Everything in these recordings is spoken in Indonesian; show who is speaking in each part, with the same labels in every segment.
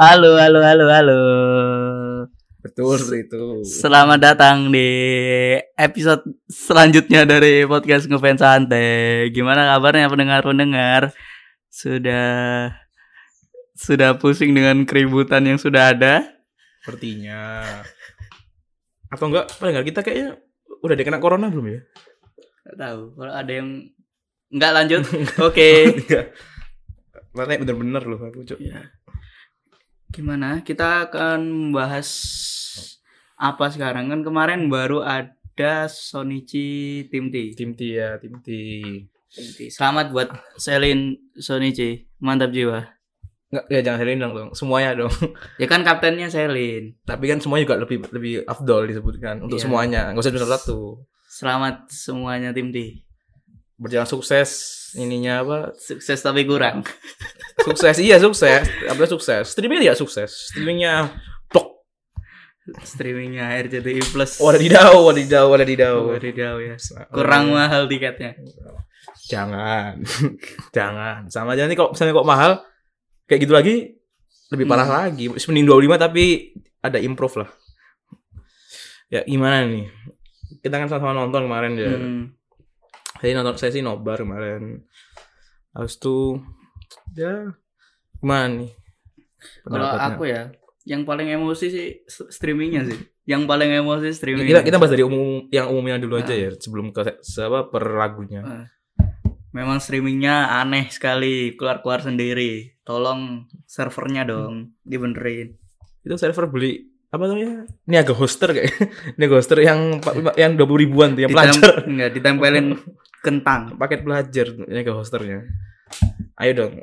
Speaker 1: Halo, halo, halo, halo.
Speaker 2: Betul seperti itu.
Speaker 1: Selamat datang di episode selanjutnya dari podcast ngefans santai. Gimana kabarnya pendengar-pendengar? Sudah sudah pusing dengan keributan yang sudah ada?
Speaker 2: Sepertinya. Atau enggak pendengar kita kayaknya udah ada kena corona belum ya?
Speaker 1: Nggak tahu. Kalau ada yang nggak lanjut, oke.
Speaker 2: Enggak. Iya. Makanya bener-bener loh aku cok.
Speaker 1: Ya. Gimana? Kita akan membahas apa sekarang? Kan kemarin baru ada Sonichi Tim T.
Speaker 2: Tim T ya, tim T.
Speaker 1: Tim T. Selamat buat Selin Sonichi. Mantap jiwa.
Speaker 2: Enggak, ya jangan Selin dong, dong. Semuanya dong.
Speaker 1: Ya kan kaptennya Selin.
Speaker 2: Tapi kan semuanya juga lebih lebih afdol disebutkan untuk
Speaker 1: Iya.
Speaker 2: semuanya. Enggak usah satu satu.
Speaker 1: Selamat semuanya Tim T.
Speaker 2: Berjalan sukses ininya apa?
Speaker 1: Sukses tapi kurang.
Speaker 2: Sukses. iya, sukses. Apa sukses? Streamingnya tidak sukses. Streamingnya blok.
Speaker 1: Streamingnya RCTI Plus.
Speaker 2: Oh, Wadidaw, wadidaw, wadidaw.
Speaker 1: Wadidaw ya.
Speaker 2: Oh.
Speaker 1: Kurang mahal tiketnya.
Speaker 2: jangan jangan sama aja nanti kalau misalnya kok mahal kayak gitu lagi lebih parah
Speaker 1: Hmm.
Speaker 2: lagi mending 25 tapi ada improve lah ya gimana nih kita kan sama-sama nonton kemarin ya
Speaker 1: Hmm.
Speaker 2: saya nonton saya sih nobar kemarin habis itu ya gimana nih
Speaker 1: Kalau aku ya, yang paling emosi sih s- streamingnya sih. Yang paling emosi streaming.
Speaker 2: Ya, Iya, kita kita bahas dari umum yang umumnya dulu aja
Speaker 1: Ah.
Speaker 2: ya sebelum ke se- apa per lagunya
Speaker 1: Memang streamingnya aneh sekali, keluar-keluar sendiri. Tolong servernya dong dibenerin.
Speaker 2: itu server beli apa namanya niaga hoster kayak niaga hoster yang empat- yang dua ribuan tuh yang
Speaker 1: Ditem-
Speaker 2: pelajar
Speaker 1: Enggak, ditempelin kentang.
Speaker 2: paket pelajar niaga hosternya ayo dong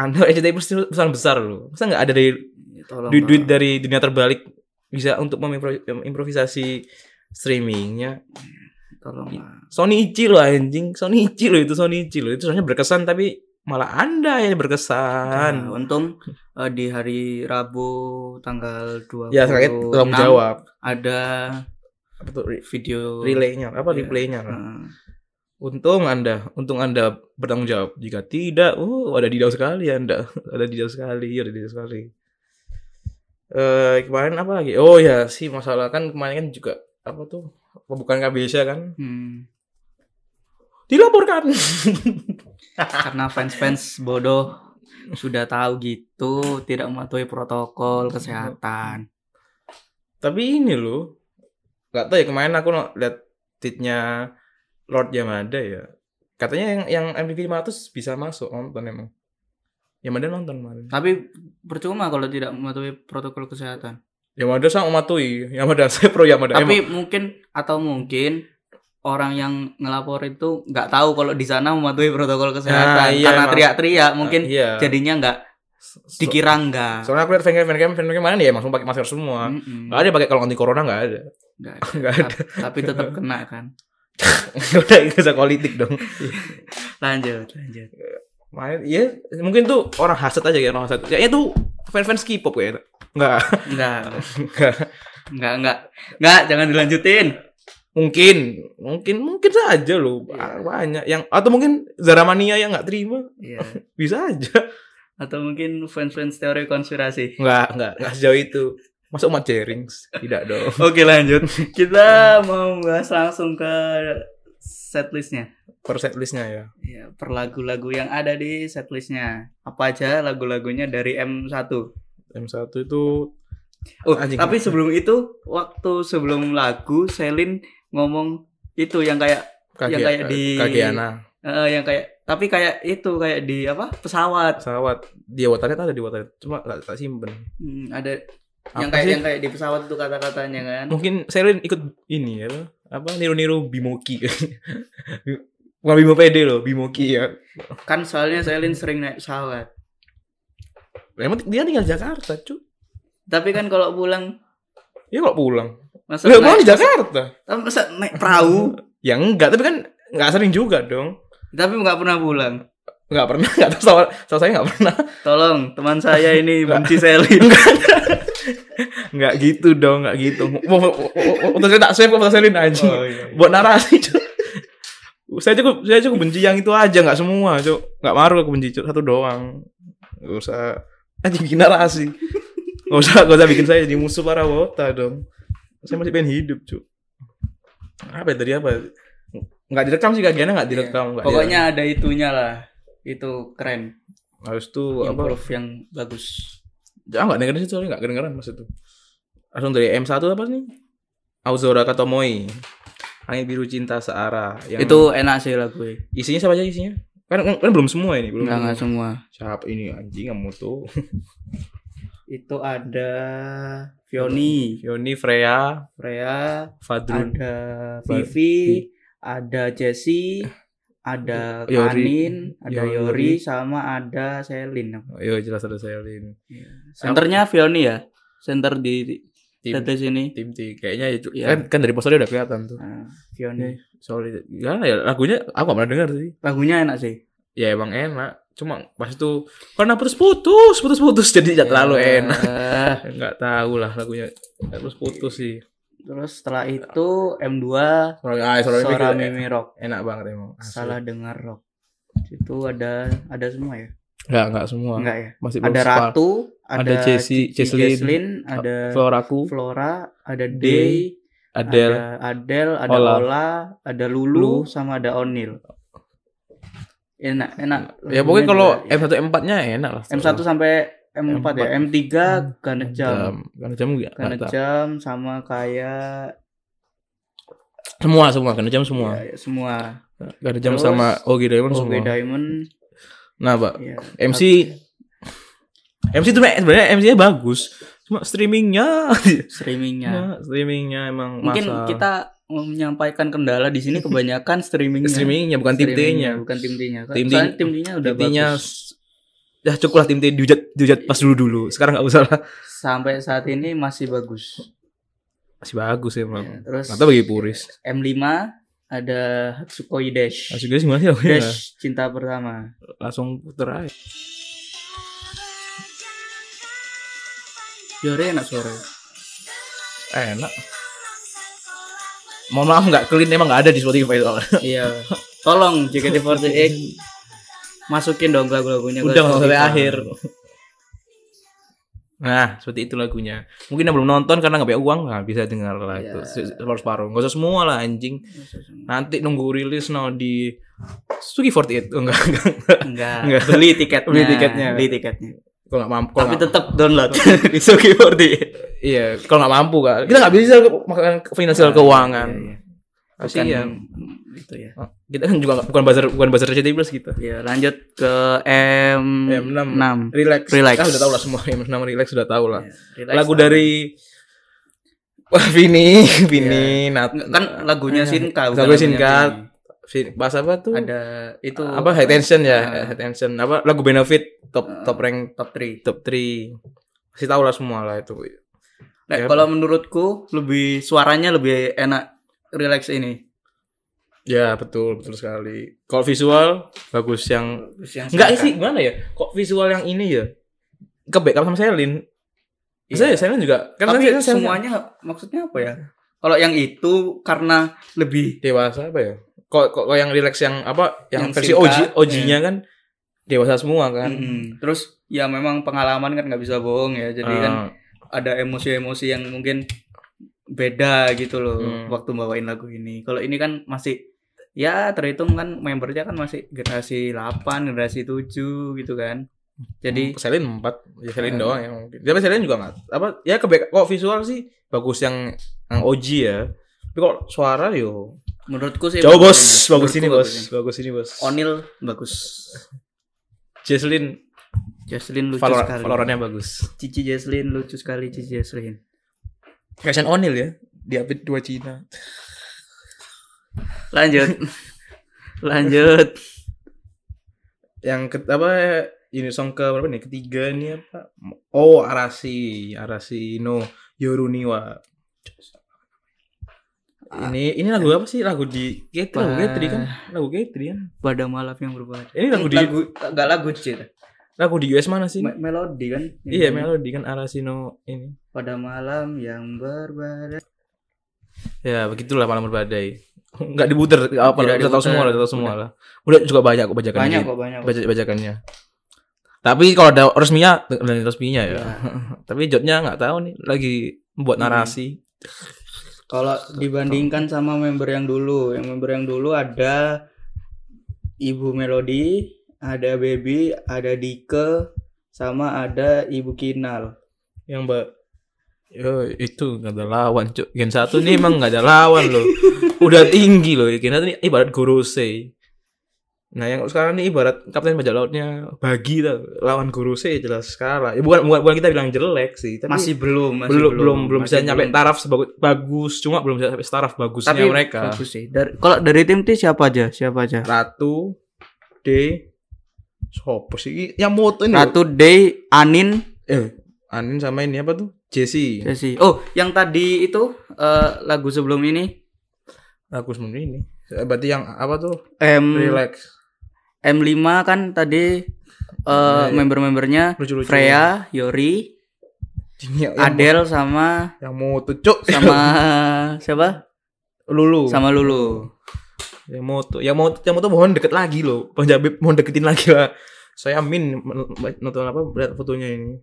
Speaker 2: anda SCTI pasti pesan besar loh masa nggak ada dari
Speaker 1: Tolong.
Speaker 2: duit duit dari dunia terbalik bisa untuk memimpro- mengimprovisasi streamingnya
Speaker 1: Tolong.
Speaker 2: Iya.
Speaker 1: lah.
Speaker 2: Sony Ichi loh anjing Sony Ichi loh itu Sony Ichi loh itu sebenarnya berkesan tapi malah anda yang
Speaker 1: Nah,
Speaker 2: berkesan
Speaker 1: untung eh, di hari Rabu tanggal 20
Speaker 2: ya saya tolong jawab
Speaker 1: ada
Speaker 2: apa tuh re-
Speaker 1: video
Speaker 2: relaynya apa
Speaker 1: Iya.
Speaker 2: replaynya lah
Speaker 1: Eh,
Speaker 2: Untung Anda, untung Anda bertanggung jawab. Jika tidak, oh ada didau sekali Anda. Ada didau sekali, iya, ada didau sekali. Eh kemarin apa lagi? Oh ya, sih masalah kan kemarin kan juga apa tuh pembukaan KBS kan
Speaker 1: hmm,
Speaker 2: dilaporkan.
Speaker 1: karena fans-fans bodoh sudah tahu gitu tidak mematuhi protokol kesehatan.
Speaker 2: Tapi ini loh, nggak tahu ya kemarin aku no- lihat tweetnya Lord Yamada ya. Katanya yang yang MVP 500 bisa masuk nonton emang. Yamada nonton kemarin.
Speaker 1: Tapi percuma kalau tidak mematuhi protokol kesehatan.
Speaker 2: Yamada sama Matui. Yamada saya pro Yamada. Emang-
Speaker 1: Tapi mungkin atau mungkin orang yang ngelapor itu nggak tahu kalau di sana mematuhi protokol kesehatan
Speaker 2: Nah, iya,
Speaker 1: karena
Speaker 2: emang.
Speaker 1: teriak-teriak mungkin
Speaker 2: iya.
Speaker 1: jadinya nggak
Speaker 2: So-
Speaker 1: dikira nggak.
Speaker 2: Ah. Soalnya aku lihat fancam fancam fancam kemarin ya langsung pakai masker semua.
Speaker 1: Mm-mm.
Speaker 2: Nggak ada pakai kalau anti corona nggak ada.
Speaker 1: Nggak
Speaker 2: Nggak ada.
Speaker 1: Tap- tapi tetap kena kan
Speaker 2: Nggak ada nggak bisa politik dong.
Speaker 1: lanjut lanjut
Speaker 2: Main, ya mungkin tuh orang hasad aja kayak orang hasad. Kayaknya tuh fans fans K-pop kayaknya. Nggak,
Speaker 1: enggak
Speaker 2: nggak.
Speaker 1: enggak enggak enggak jangan dilanjutin
Speaker 2: Mungkin, mungkin, mungkin saja loh. Ah,
Speaker 1: Iya.
Speaker 2: Banyak yang atau mungkin Zaramania yang nggak terima
Speaker 1: Iya.
Speaker 2: bisa aja.
Speaker 1: atau mungkin fans fans teori konspirasi
Speaker 2: Nggak, nggak, nggak sejauh itu. Masuk Mat Jerings? Tidak dong.
Speaker 1: oke lanjut kita mau bahas langsung ke setlistnya
Speaker 2: Per setlistnya ya.
Speaker 1: ya per lagu-lagu yang ada di setlistnya apa aja lagu-lagunya dari M1
Speaker 2: M1 itu
Speaker 1: Oh,
Speaker 2: Anjing.
Speaker 1: tapi sebelum itu waktu sebelum lagu Selin ngomong itu yang Iya, kayak
Speaker 2: kaki,
Speaker 1: Yang kayak di-
Speaker 2: Kagiana.
Speaker 1: eh, yang kayak tapi kayak itu kayak di apa pesawat
Speaker 2: pesawat di waternya ada di waternya cuma nggak tak simpen
Speaker 1: Hmm, ada
Speaker 2: Apa
Speaker 1: yang kayak
Speaker 2: sih?
Speaker 1: yang kayak di pesawat tuh kata-katanya kan.
Speaker 2: mungkin Selin ikut ini ya apa niru-niru Bimoki bukan Bimo PD loh Bimoki ya
Speaker 1: Kan soalnya Selin sering naik pesawat.
Speaker 2: emang dia tinggal di Jakarta cu
Speaker 1: Tapi kan kalau pulang
Speaker 2: ya kalau pulang
Speaker 1: masa
Speaker 2: lah emang
Speaker 1: naik,
Speaker 2: di Jakarta
Speaker 1: tapi masa naik perahu,
Speaker 2: ya enggak tapi kan nggak sering juga dong
Speaker 1: tapi nggak pernah pulang.
Speaker 2: nggak pernah nggak tahu sama, sama saya nggak pernah
Speaker 1: Tolong teman saya ini benci Selin.
Speaker 2: nggak gitu dong nggak gitu Mau- mau- mau- mau- untuk saya tak save foto Selin aja
Speaker 1: Oh, iya,
Speaker 2: buat narasi cu saya cukup saya cukup benci yang itu aja nggak semua cu nggak maru aku benci cu satu doang nggak usah anjing bikin Eh, narasi Gak usah, gak usah bikin saya jadi musuh para wota dong. Saya masih pengen hidup, cu. Apa ya tadi apa? Nggak direkam sih kagiannya nggak direkam. nggak
Speaker 1: Iya. Pokoknya ada itunya lah. Itu keren.
Speaker 2: direkam. harus tuh apa?
Speaker 1: Improve yang bagus.
Speaker 2: Jangan nggak dengerin sih soalnya nggak kedengeran maksud tuh. Langsung dari M 1 apa nih? Auzora Katomoi. Angin biru cinta searah. Yang
Speaker 1: Itu enak sih lagu.
Speaker 2: isinya siapa aja isinya? Kan, kan belum semua ini, belum.
Speaker 1: Enggak enggak semua.
Speaker 2: Siapa ini anjing kamu tuh?
Speaker 1: Itu ada Fioni,
Speaker 2: Yoni, Freya,
Speaker 1: Freya,
Speaker 2: Fadrun,
Speaker 1: ada
Speaker 2: Ba-
Speaker 1: Vivi, ada Jesse, ada
Speaker 2: Yori.
Speaker 1: Kanin, ada
Speaker 2: Yori.
Speaker 1: Yori, sama ada Selin.
Speaker 2: Yo jelas ada Selin.
Speaker 1: Senternya Fioni ya, center di
Speaker 2: Tim.
Speaker 1: di sini.
Speaker 2: Tim T kayaknya ya, cu-
Speaker 1: Iya.
Speaker 2: kan, kan dari posternya udah kelihatan tuh.
Speaker 1: Nah, Fioni.
Speaker 2: Sorry, gimana ya lagunya aku gak pernah dengar sih.
Speaker 1: Lagunya enak sih.
Speaker 2: Ya emang enak, cuma pas itu karena putus-putus, putus-putus jadi nggak terlalu enak.
Speaker 1: Eh,
Speaker 2: Nggak tahu lah lagunya terus putus sih.
Speaker 1: Terus setelah itu M2
Speaker 2: Sorry, ah, sorry,
Speaker 1: Sora
Speaker 2: Mimi.
Speaker 1: Mimi Rock.
Speaker 2: enak banget emang. Asli.
Speaker 1: Salah dengar rock. Itu ada ada semua ya?
Speaker 2: Nggak, nggak semua.
Speaker 1: Enggak ya?
Speaker 2: Masih belum
Speaker 1: Ada
Speaker 2: separ.
Speaker 1: Ratu, ada,
Speaker 2: ada Jessie,
Speaker 1: Cici
Speaker 2: Jesslyn,
Speaker 1: Jesslyn, ada
Speaker 2: Floraku,
Speaker 1: Flora, ada
Speaker 2: Day,
Speaker 1: Day,
Speaker 2: Adele,
Speaker 1: ada Adele, ada
Speaker 2: Ola.
Speaker 1: Ola, ada Lulu,
Speaker 2: Lu.
Speaker 1: sama ada O'Neill. Enak, enak.
Speaker 2: Ya pokoknya kalau
Speaker 1: Lagunya
Speaker 2: M1 M4-nya enak lah.
Speaker 1: juga. M1 sampai M4, ya, M3 Ganet Jam.
Speaker 2: Karena jam enggak.
Speaker 1: Ganet Jam sama kayak
Speaker 2: Semua semua karena jam semua.
Speaker 1: ya, ya, semua.
Speaker 2: Gak ada jam
Speaker 1: Terus,
Speaker 2: sama OG Diamond
Speaker 1: Oke
Speaker 2: semua.
Speaker 1: Diamond.
Speaker 2: Nah, Pak,
Speaker 1: Ya.
Speaker 2: MC MC itu sebenarnya MC-nya bagus. Cuma streamingnya
Speaker 1: Streamingnya.
Speaker 2: Nah, streamingnya
Speaker 1: Iya.
Speaker 2: emang
Speaker 1: Mungkin
Speaker 2: masa.
Speaker 1: kita menyampaikan kendala di sini kebanyakan streamingnya.
Speaker 2: streamingnya bukan tim
Speaker 1: Streamingnya,
Speaker 2: T-nya.
Speaker 1: bukan tim D-nya.
Speaker 2: Tim D-
Speaker 1: Soalnya tim D-nya udah
Speaker 2: Intinya
Speaker 1: bagus.
Speaker 2: s- ya cukup lah tim T dihujat dihujat pas dulu dulu. Sekarang nggak usah lah.
Speaker 1: Sampai saat ini masih bagus.
Speaker 2: Masih bagus ya, Bang.
Speaker 1: Ya, terus
Speaker 2: Kata bagi puris.
Speaker 1: M5 ada Hatsukoi Dash.
Speaker 2: Masih guys gimana sih? lagunya?
Speaker 1: Dash cinta pertama.
Speaker 2: Langsung puter aja.
Speaker 1: Yore enak suara.
Speaker 2: Eh, Enak. Mohon maaf nggak clean emang nggak ada di Spotify itu.
Speaker 1: iya. Tolong JKT48 masukin dong lagu-lagunya. ke
Speaker 2: Udah nggak sampai
Speaker 1: Spotify.
Speaker 2: akhir. Nah, seperti itu lagunya. Mungkin yang belum nonton karena nggak punya uang nggak bisa dengar lah itu separuh separuh. Gak usah semua lah anjing. Nanti nunggu rilis no di Suki 48 oh, enggak enggak. enggak.
Speaker 1: Enggak.
Speaker 2: Enggak.
Speaker 1: Beli tiketnya.
Speaker 2: Beli tiketnya.
Speaker 1: Beli tiketnya.
Speaker 2: Kalau nggak mampu, kalau
Speaker 1: Tapi
Speaker 2: nggak-
Speaker 1: tetap download di Suki 48.
Speaker 2: iya, kalau nggak mampu kan. Kita nggak bisa ke- makan ke finansial keuangan.
Speaker 1: Iya, iya.
Speaker 2: Kasihan.
Speaker 1: Bukan itu ya.
Speaker 2: Kita kan juga nggak- bukan bazar bukan bazar CTI plus kita.
Speaker 1: Ya, lanjut ke M
Speaker 2: M6.
Speaker 1: 6.
Speaker 2: Relax.
Speaker 1: Relax.
Speaker 2: Kita sudah tahu lah semua. M6 relax sudah tahu lah. Iya.
Speaker 1: Relax.
Speaker 2: Lagu dari Wah, Vini, Vini, Nat,
Speaker 1: Nggak, kan lagunya Sinka. bukan
Speaker 2: Iya. Lagu
Speaker 1: lagunya
Speaker 2: singkat.
Speaker 1: Vini.
Speaker 2: Vini- bahasa apa tuh?
Speaker 1: Ada itu
Speaker 2: apa high tension ya high tension apa lagu benefit top top rank
Speaker 1: Ah. top 3.
Speaker 2: top 3 pasti tahu lah semua lah itu
Speaker 1: Nah,
Speaker 2: Ya.
Speaker 1: kalau menurutku lebih suaranya lebih enak relax ini.
Speaker 2: ya betul betul sekali kalau visual bagus yang enggak sih gimana ya kok visual yang ini ya ke backup sama Selin saya Selin juga
Speaker 1: Iya.
Speaker 2: kan
Speaker 1: Tapi
Speaker 2: Selin- kan Selin
Speaker 1: semuanya maksudnya apa
Speaker 2: Iya.
Speaker 1: ya? Kalau yang itu karena lebih
Speaker 2: dewasa apa ya kok kok kok yang relax yang apa yang,
Speaker 1: Yang
Speaker 2: versi
Speaker 1: singkat, iya.
Speaker 2: OG OG-nya kan dewasa semua kan
Speaker 1: Mm-mm. terus ya memang pengalaman kan nggak bisa bohong ya. Jadi kan
Speaker 2: Ah.
Speaker 1: ada emosi-emosi yang mungkin beda gitu loh
Speaker 2: Hmm.
Speaker 1: waktu bawain lagu ini. Kalau ini kan masih ya terhitung kan membernya kan masih generasi 8, generasi 7 gitu kan. Jadi
Speaker 2: Selin 4 ya Selin
Speaker 1: Eh.
Speaker 2: doang yang mungkin tapi Selin juga nggak apa ya ke back- kok visual sih bagus yang yang OG ya tapi kok suara yo
Speaker 1: menurutku sih
Speaker 2: jauh bos
Speaker 1: bagus
Speaker 2: Iya, bagus ini
Speaker 1: Menurutku
Speaker 2: bos
Speaker 1: ini.
Speaker 2: bagus ini bos
Speaker 1: Onil bagus.
Speaker 2: Jesslyn
Speaker 1: Jesslyn lucu
Speaker 2: Valor
Speaker 1: sekali.
Speaker 2: Valorantnya bagus
Speaker 1: Cici Jesslyn lucu sekali Cici Jesslyn.
Speaker 2: Christian O'Neal ya di update dua Cina
Speaker 1: Lanjut. Lanjut.
Speaker 2: yang ke, apa ini song ke berapa nih ketiga nih apa oh Arasi Arasi no Yoruniwa ini ini lagu apa sih lagu di K3 lagu K3 kan lagu K3 kan
Speaker 1: Pada malam yang berbahaya.
Speaker 2: ini lagu di
Speaker 1: lagu enggak lagu Cid.
Speaker 2: lagu di US mana sih
Speaker 1: Me- melodi kan?
Speaker 2: Iya melodi kan Arasino ini.
Speaker 1: Pada malam yang berbahaya.
Speaker 2: Ya begitulah malam berbadai. Enggak diputer apa
Speaker 1: Tidak
Speaker 2: udah tahu
Speaker 1: diputer.
Speaker 2: semua lah, udah tahu semua lah. Udah juga banyak aku bacakan
Speaker 1: Banyak
Speaker 2: dikit.
Speaker 1: kok banyak. kok.
Speaker 2: Baca bacakannya. Tapi kalau ada resminya, dan resminya ya.
Speaker 3: Iya.
Speaker 2: Tapi jobnya nggak tahu nih lagi membuat
Speaker 1: Hmm.
Speaker 2: narasi.
Speaker 3: Kalau dibandingkan sama member yang dulu, yang member yang dulu ada Ibu Melody, ada Baby, ada Dike, sama ada Ibu Kinal.
Speaker 2: Yang mbak Yo, itu nggak ada lawan cuk Gen 1 nih emang nggak ada lawan loh udah tinggi loh Gen 1 nih ibarat Gorose nah yang sekarang nih ibarat kapten bajak lautnya bagi lah lawan Gorose jelas kalah ya, bukan, bukan bukan kita bilang jelek sih tapi
Speaker 3: Masih belum, masih
Speaker 2: belum belum belum
Speaker 3: masih
Speaker 2: bisa nyampe taraf sebagus bagus cuma belum bisa sampai taraf bagusnya
Speaker 1: Tapi
Speaker 2: mereka
Speaker 1: Bagus sih. Dari- kalau dari tim T siapa aja? Siapa aja?
Speaker 2: Ratu D Sopo sih yang moto ini
Speaker 1: Ratu Day, Anin,
Speaker 2: eh Anin sama ini apa tuh Jesse
Speaker 1: Jesse. Oh, yang tadi itu eh, lagu sebelum ini
Speaker 2: aku sebelum ini Eh, berarti yang apa tuh
Speaker 1: M
Speaker 2: relax
Speaker 1: M5 kan tadi eh,
Speaker 2: Iya, iya.
Speaker 1: member-membernya
Speaker 2: lucu-lucu
Speaker 1: Freya, Yori,
Speaker 2: Yang- yang-
Speaker 1: Adele sama
Speaker 2: yang moto cuk
Speaker 1: sama siapa?
Speaker 2: Lulu
Speaker 1: Sama Lulu.
Speaker 2: yang moto yang moto yang moto mohon deket lagi loh Punjabi mohon deketin lagi lah saya amin men- men- nonton apa lihat fotonya ini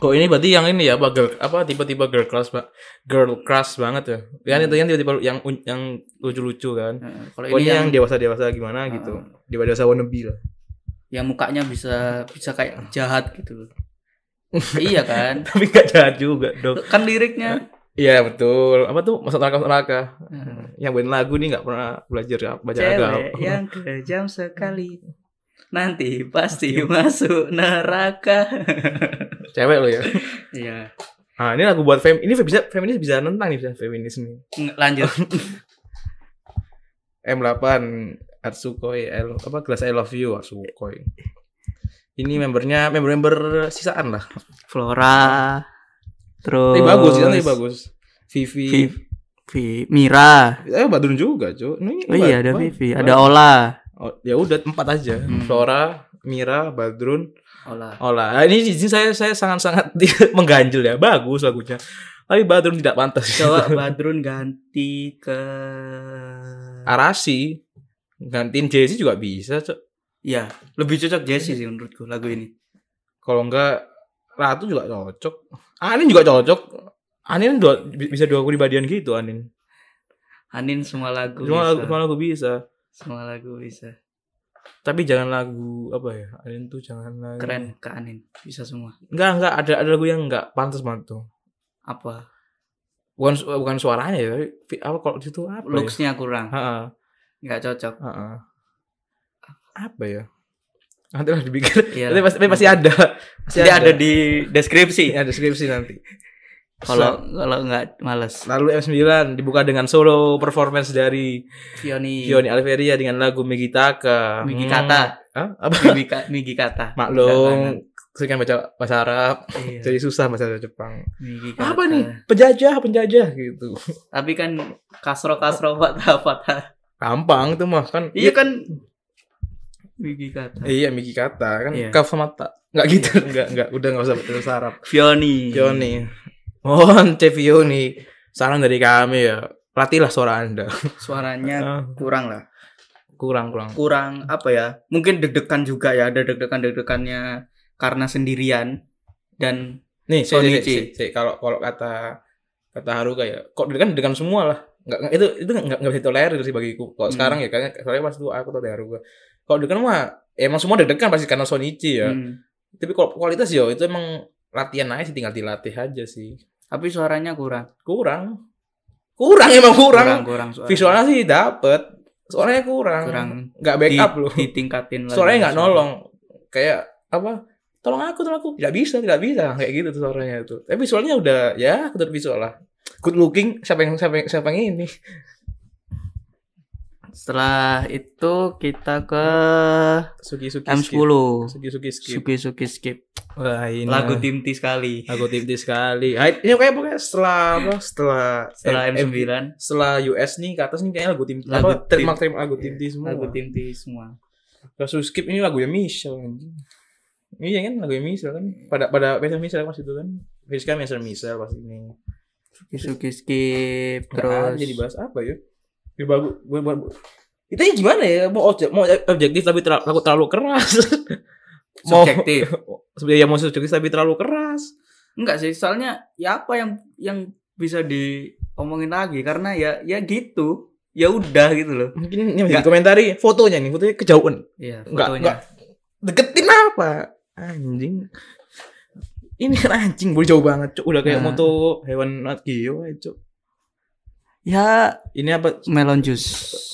Speaker 2: kok ini berarti yang ini ya apa girl apa tiba-tiba girl crush pak girl crush banget ya kan itu yang tiba-tiba yang un- yang lucu-lucu kan
Speaker 1: Eh, Kalau ini
Speaker 2: pokoknya yang,
Speaker 1: yang Ah.
Speaker 2: dewasa-dewasa gimana gitu dewasa dewasa wannabe lah
Speaker 1: yang mukanya bisa bisa kayak jahat gitu. iya kan?
Speaker 2: tapi gak jahat juga dong
Speaker 1: Kan liriknya.
Speaker 2: iya betul apa tuh masuk neraka masuk neraka
Speaker 1: Eh,
Speaker 2: yang buat lagu nih nggak pernah belajar ya, baca agama
Speaker 1: Cewek yang kejam sekali. Nanti pasti masuk neraka.
Speaker 2: cewek lo ya
Speaker 1: Iya.
Speaker 2: ah ini lagu buat fem ini bisa feminis bisa nentang nih bisa feminis nih
Speaker 1: Nge- Lanjut.
Speaker 2: M8 Atsukoi L, apa gelas I love you Atsukoi ini membernya member-member sisaan lah
Speaker 1: Flora. Terus.
Speaker 2: tapi bagus sisaan tapi bagus Vivi,
Speaker 1: Vivi. Vi- Mira.
Speaker 2: Eh, Badrun juga, cuy. Ini
Speaker 1: Oh
Speaker 2: Bad-
Speaker 1: iya ada
Speaker 2: Bad-
Speaker 1: Vivi,
Speaker 2: Bad-
Speaker 1: ada Ola.
Speaker 2: Oh, ya udah empat aja.
Speaker 1: Hmm.
Speaker 2: Flora, Mira, Badrun,
Speaker 1: Ola.
Speaker 2: Ola. Nah, ini izin saya saya sangat-sangat mengganjil ya. Bagus lagunya. Tapi Badrun tidak pantas.
Speaker 1: Coba Badrun ganti ke
Speaker 2: Arasi gantiin Jesse juga bisa, Cok.
Speaker 1: Ya, lebih cocok Jesse sih menurutku lagu ini.
Speaker 2: Kalau enggak Ratu juga cocok. Anin juga cocok. Anin dua, bi- bisa dua kepribadian gitu Anin.
Speaker 1: Anin semua lagu
Speaker 2: Semua lagu,
Speaker 1: bisa.
Speaker 2: semua lagu bisa.
Speaker 1: Semua lagu bisa.
Speaker 2: Tapi jangan lagu apa ya? Anin tuh jangan lagu.
Speaker 1: Keren ke Anin, bisa semua.
Speaker 2: Enggak, enggak ada ada lagu yang enggak pantas banget tuh.
Speaker 1: Apa?
Speaker 2: Bukan su- bukan suaranya ya, tapi fi- apa kalau di situ apa? ya?
Speaker 1: Looks-nya kurang,
Speaker 2: Ha-ha.
Speaker 1: nggak cocok.
Speaker 2: Heeh. Apa ya? Nanti lah dipikir.
Speaker 1: Iya.
Speaker 2: Nanti pasti, pasti ada. Pasti
Speaker 1: Dia ada di deskripsi.
Speaker 2: ada skripsi nanti.
Speaker 1: Kalau kalau nggak males.
Speaker 2: lalu M9 dibuka dengan solo performance dari
Speaker 1: Fioni.
Speaker 2: Giovanni Alveria dengan lagu Megitaka.
Speaker 1: Migi Iya. kata.
Speaker 2: Hmm. Hah? Apa?
Speaker 1: Migi, ka- Migi kata.
Speaker 2: Maklum, sering kan baca bahasa Arab,
Speaker 1: Iya,
Speaker 2: jadi susah bahasa Jepang.
Speaker 1: Migi kata.
Speaker 2: Apa nih? Penjajah, penjajah gitu.
Speaker 1: Tapi kan kasro kasro patah patah.
Speaker 2: Gampang tuh mah kan.
Speaker 1: Iya kan Migi kata.
Speaker 2: Iya, Migi kata kan
Speaker 1: Iya.
Speaker 2: kaf sama tak. Enggak gitu, enggak, enggak. Udah enggak usah bahasa Arab.
Speaker 1: Fioni.
Speaker 2: Yoni. Mohon Chef Yoni, saran dari kami ya. Latihlah suara Anda.
Speaker 3: Suaranya
Speaker 2: Ah,
Speaker 3: kurang lah.
Speaker 2: Kurang kurang.
Speaker 3: Kurang apa ya? Mungkin deg-degan juga ya, ada deg-degan-deg-degannya karena sendirian dan
Speaker 2: Nih, si,
Speaker 1: Sony
Speaker 2: si,
Speaker 1: C.
Speaker 2: si, si, kalau kalau kata kata Haruka ya, kok kan dengan semua lah. Nggak, nggak- itu itu nggak nggak bisa ditolerir sih bagiku. Kalau
Speaker 1: Hmm.
Speaker 2: sekarang ya kayaknya soalnya pas itu aku tahu dari Haruka. Kalau deg mah ya emang semua deg-degan pasti karena Sonichi ya.
Speaker 1: Hmm.
Speaker 2: Tapi kalau kualitas ya itu emang latihan aja sih tinggal dilatih aja sih.
Speaker 1: Tapi suaranya kurang.
Speaker 2: Kurang. Kurang emang kurang.
Speaker 1: kurang, kurang suara.
Speaker 2: Visualnya sih dapet. Soalnya kurang.
Speaker 1: kurang
Speaker 2: Nggak backup
Speaker 1: Di-
Speaker 2: loh.
Speaker 1: ditingkatin lagi.
Speaker 2: Suaranya nggak nolong. Kayak apa? Tolong aku, tolong aku. Tidak bisa, tidak bisa. Kayak gitu tuh suaranya itu. Tapi visualnya udah ya, aku visual lah. Good looking siapa yang siapa yang, siapa yang ini?
Speaker 1: Setelah itu kita ke
Speaker 2: Suki Suki
Speaker 1: M10.
Speaker 2: Skip. Suki Suki Skip.
Speaker 1: Suki Suki skip.
Speaker 2: Wah, ini
Speaker 1: Lagu tim T sekali.
Speaker 2: Lagu tipis sekali. Ah, Ini kayak pokoknya setelah apa? Setelah
Speaker 1: Setelah
Speaker 2: M-
Speaker 1: M9
Speaker 2: setelah US nih ke atas nih kayaknya lagu tim
Speaker 1: Lagu
Speaker 2: apa
Speaker 1: tim-
Speaker 2: terima terima lagu tim di semua.
Speaker 1: lagu tim T semua.
Speaker 2: Terus lu skip ini lagunya Michelle anjing. Iya kan lagunya Michelle kan. Pada pada versi Michelle pas itu kan. Versi kan versi Michelle pas ini.
Speaker 1: Suki Suki skip
Speaker 2: Terus
Speaker 1: terus
Speaker 2: jadi bahas apa ya? Ya bagus gue ya? buat. Itu gimana ya? Mau objek, mau objektif tapi terlalu, terlalu keras. Mau-
Speaker 1: subjektif
Speaker 2: Sebenarnya ya mau subjektif tapi terlalu keras.
Speaker 1: enggak sih soalnya ya apa yang yang bisa diomongin lagi karena ya ya gitu ya udah gitu loh
Speaker 2: Mungkin ini masih
Speaker 1: Nggak.
Speaker 2: di komentari fotonya nih, fotonya kejauhan.
Speaker 1: Iya,
Speaker 2: Nggak, nggak. Deketin apa? Anjing. Ini kan anjing, boleh jauh banget, Cuk. Udah kayak
Speaker 4: Nah.
Speaker 2: moto hewan Nat Geo, aja, Cuk.
Speaker 4: Ya
Speaker 2: Ini apa?
Speaker 4: melon juice.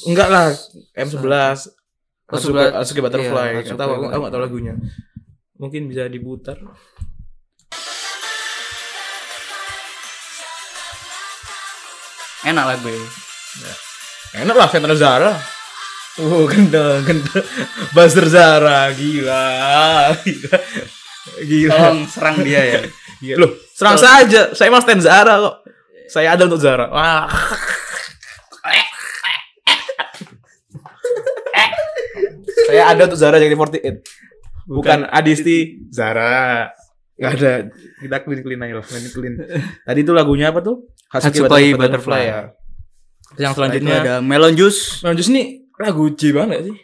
Speaker 2: Enggak lah, M11.
Speaker 1: Oh,
Speaker 2: Hatsuki
Speaker 1: sebelah-
Speaker 2: Hatsuki Butterfly.
Speaker 1: iya,
Speaker 2: Nggak
Speaker 1: Hatsuki
Speaker 2: tahu, aku- aku
Speaker 1: Butterfly.
Speaker 2: nggak tahu lagunya. Mungkin bisa diputar.
Speaker 1: Enak lagu ya.
Speaker 2: Enak lah Central Zara. Oh, gendel, gendel. Buzzer Zara, gila. Gila. Gila. Iya,
Speaker 1: Tolong serang dia ya.
Speaker 2: Gila. Loh, serang saja. Saya mah stand Zara kok. Saya ada untuk Zara. Wah. Saya ada untuk Zara JKT48. Bukan Adisti Zara. Gak ada. Kita clean clean aja lah, clean clean. Tadi itu lagunya apa tuh?
Speaker 4: Hatsuki
Speaker 2: Butterfly,
Speaker 4: Butterfly.
Speaker 2: ya. Nah,
Speaker 1: Yang
Speaker 2: selanjutnya
Speaker 4: Selanjutnya ada melon juice.
Speaker 2: Nah, justru ini lagu J banget gak sih?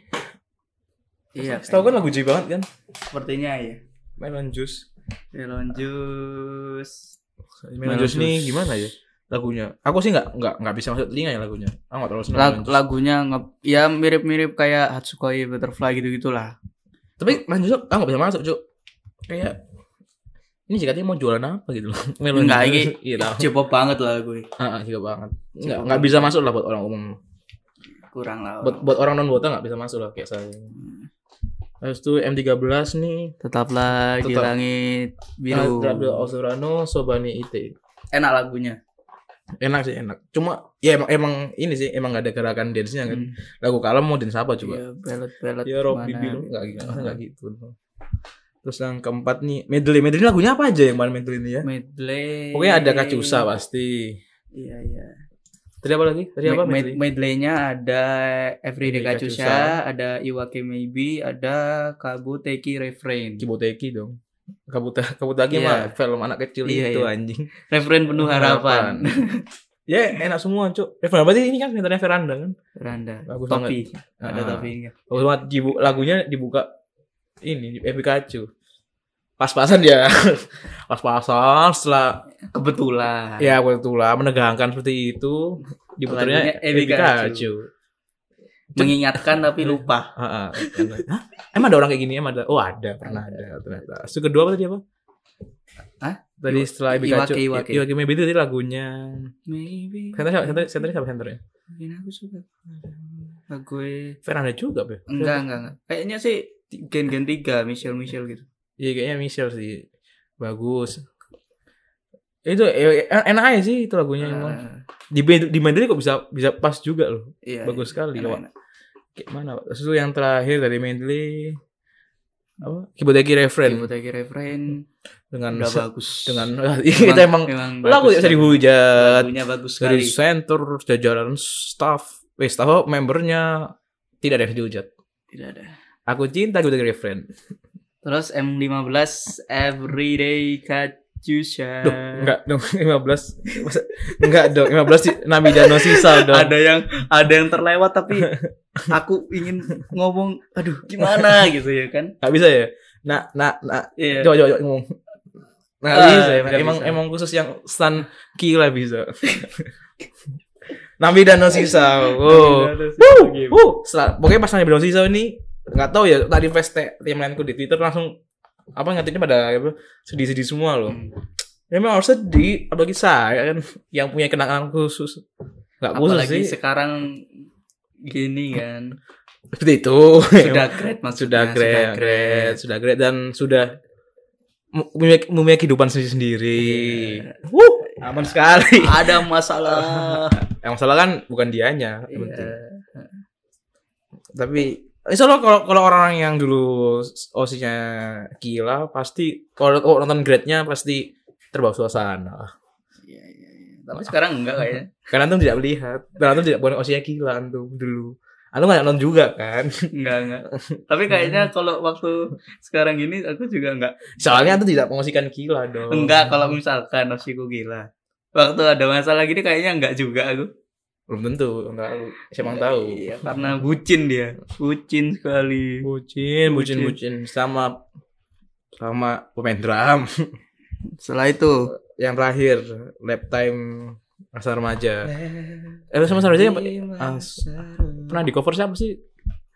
Speaker 1: Iya,
Speaker 2: Setahu kan lagu J banget kan?
Speaker 1: sepertinya ya.
Speaker 2: Melon Juice.
Speaker 1: Melon juice.
Speaker 2: Melon,
Speaker 4: Melon
Speaker 2: Juice ini
Speaker 4: Juice.
Speaker 2: gimana ya lagunya? Aku sih nggak nggak nggak bisa masuk telinga ya lagunya. Aku nggak terlalu
Speaker 4: Lag-
Speaker 2: senang. Melon Juice.
Speaker 4: lagunya nge- ya mirip-mirip kayak Hatsukoi Butterfly gitu-gitulah.
Speaker 2: Tapi Melon Juice aku nggak bisa masuk cuk. Kayak ini jika mau jualan apa gitu loh. Melon
Speaker 4: Nggak,
Speaker 2: Juice. Iya tahu.
Speaker 1: Cepop banget lah gue.
Speaker 2: Ah, ah, juga banget. Nggak
Speaker 1: Cuk.
Speaker 2: nggak bisa masuk lah buat orang umum.
Speaker 1: Kurang lah.
Speaker 2: Buat buat orang non botak nggak bisa masuk lah kayak saya. Terus tuh M13 nih.
Speaker 4: Tetaplah di
Speaker 2: Tetap.
Speaker 4: langit biru.
Speaker 2: Biru. Osurano Sobani Ite.
Speaker 1: Enak lagunya.
Speaker 2: Enak sih enak. Cuma ya emang emang ini sih emang gak ada gerakan dance-nya
Speaker 1: Hmm,
Speaker 2: kan. Lagu kalem mau dance apa coba?
Speaker 4: Iya, belet-belet.
Speaker 2: Ya Rob Bibi
Speaker 4: gimana.
Speaker 2: enggak gitu, enggak gitu. Terus yang keempat nih, medley. Medley ini lagunya apa aja yang main medley ini ya?
Speaker 4: Medley.
Speaker 2: Pokoknya ada Kacusa pasti.
Speaker 1: Iya, iya.
Speaker 2: Tadi apa lagi? Tadi apa
Speaker 1: Me-
Speaker 2: medley?
Speaker 1: med- Medley-nya ada Everyday
Speaker 2: Everyday
Speaker 1: Kacusa, ada Iwake Maybe, ada Kabuteki Refrain.
Speaker 2: Kiboteki dong. Kabuta
Speaker 1: Iya.
Speaker 2: Kabutaki mah film anak kecil
Speaker 1: Iya,
Speaker 2: itu
Speaker 1: iya.
Speaker 2: anjing.
Speaker 1: Refrain penuh harapan.
Speaker 2: ya enak semua cuk. Referan berarti ini kan sebenarnya veranda kan.
Speaker 1: Randa.
Speaker 2: Bagus banget.
Speaker 1: Topi. Ada
Speaker 2: Ah.
Speaker 1: topinya.
Speaker 2: Bagus banget. Dibu- lagunya dibuka ini eh, Pikachu. Pas-pasan ya. Pas-pasan setelah
Speaker 1: Kebetulan.
Speaker 2: Ya betulah menegangkan seperti itu diputarnya
Speaker 1: Lagunya Ebi
Speaker 2: Ebi Pikachu.
Speaker 1: Mengingatkan tapi
Speaker 2: Iya.
Speaker 1: lupa.
Speaker 2: Heeh. Hah? Emang ada orang kayak gini? Emang ada? Oh ada, pernah ada ternyata. Su kedua apa tadi apa?
Speaker 1: Hah?
Speaker 2: Tadi
Speaker 1: Iwa-
Speaker 2: setelah Ebi Pikachu.
Speaker 1: Iwake, Iwake.
Speaker 2: Iwake Maybe itu tadi lagunya.
Speaker 1: Maybe.
Speaker 2: Center siapa? Center, center siapa centernya?
Speaker 1: Mungkin aku suka. Nah, gue
Speaker 2: Fernanda juga, Be.
Speaker 1: enggak enggak enggak. Kayaknya sih gen-gen tiga Michelle Michelle gitu.
Speaker 2: Iya kayaknya Michelle sih. Bagus. Itu eh, enak aja sih itu lagunya Iya, emang.
Speaker 1: Ah,
Speaker 2: Di di Mandiri kok bisa bisa pas juga loh.
Speaker 1: iya,
Speaker 2: Bagus sekali.
Speaker 1: Enak, enak.
Speaker 2: Kayak mana Pak? Terus itu yang terakhir dari medley apa? Kiboteki refrain
Speaker 1: Kibuteki refrain
Speaker 2: dengan
Speaker 1: udah
Speaker 2: se-
Speaker 1: bagus.
Speaker 2: dengan kita emang ya, lagu
Speaker 1: bagus
Speaker 2: tidak bisa
Speaker 1: lagu.
Speaker 2: dihujat
Speaker 1: Lagunya bagus
Speaker 2: dari
Speaker 1: sekali.
Speaker 2: center jajaran staff eh staff apa, membernya tidak ada yang bisa dihujat.
Speaker 1: Tidak ada.
Speaker 2: Aku cinta Kiboteki refrain.
Speaker 1: Terus M15 Everyday Katusha.
Speaker 2: Duh, enggak dong 15. Masa- enggak dong 15 di Nami Dano sisa dong.
Speaker 1: Ada yang ada yang terlewat tapi aku ingin ngomong aduh gimana gitu ya kan.
Speaker 2: Enggak bisa ya. Nah, nah, nah.
Speaker 1: Iya.
Speaker 2: Coba coba coba ngomong. Nah,
Speaker 1: Ah,
Speaker 2: bisa, emang,
Speaker 1: nggak
Speaker 2: emang
Speaker 1: bisa.
Speaker 2: emang khusus yang stun kila bisa. Nami Dano sisa. Wow. Wuh, wuh. Setelah, pokoknya pas nanya Brown Sisa ini nggak tahu ya tadi feste timeline ku di Twitter langsung apa ngetiknya pada apa, sedih-sedih semua loh.
Speaker 1: Hmm.
Speaker 2: Ya memang harus sedih apalagi saya kan yang punya kenangan khusus. Nggak khusus
Speaker 1: Apalagi
Speaker 2: sih.
Speaker 1: sekarang gini kan.
Speaker 2: Seperti itu.
Speaker 1: Sudah grade
Speaker 2: Nah, sudah
Speaker 1: maksudnya.
Speaker 2: great, sudah great, sudah great dan sudah mem- memiliki, memiliki kehidupan sendiri-sendiri. Wuh, aman sekali.
Speaker 1: Ya, Ada masalah.
Speaker 2: yang masalah kan bukan dianya, yang penting.
Speaker 1: Iya.
Speaker 2: tapi insya Allah kalau kalau orang yang dulu osinya gila pasti kalau kalau nonton grade-nya pasti terbawa suasana
Speaker 1: Iya, iya, iya. Tapi sekarang enggak kayaknya.
Speaker 2: karena antum tidak melihat dan antum tidak bukan osinya gila antum dulu antum nggak nonton juga kan
Speaker 1: Enggak, enggak. Tapi kayaknya
Speaker 2: Hmm.
Speaker 1: kalau waktu sekarang gini aku juga enggak.
Speaker 2: soalnya antum tidak mengosikan gila dong
Speaker 1: Enggak kalau misalkan nafsiku gila. Waktu ada masalah gini kayaknya enggak juga aku.
Speaker 2: belum tentu enggak siapa yang tahu
Speaker 1: Iya, karena bucin dia. Bucin sekali.
Speaker 2: bucin bucin
Speaker 1: Bucin.
Speaker 2: bucin sama sama pemain drum.
Speaker 1: Setelah itu
Speaker 2: Yang terakhir lap time masa remaja. Eh masa masa remaja yang
Speaker 1: Iya,
Speaker 2: ah, pernah di cover siapa sih?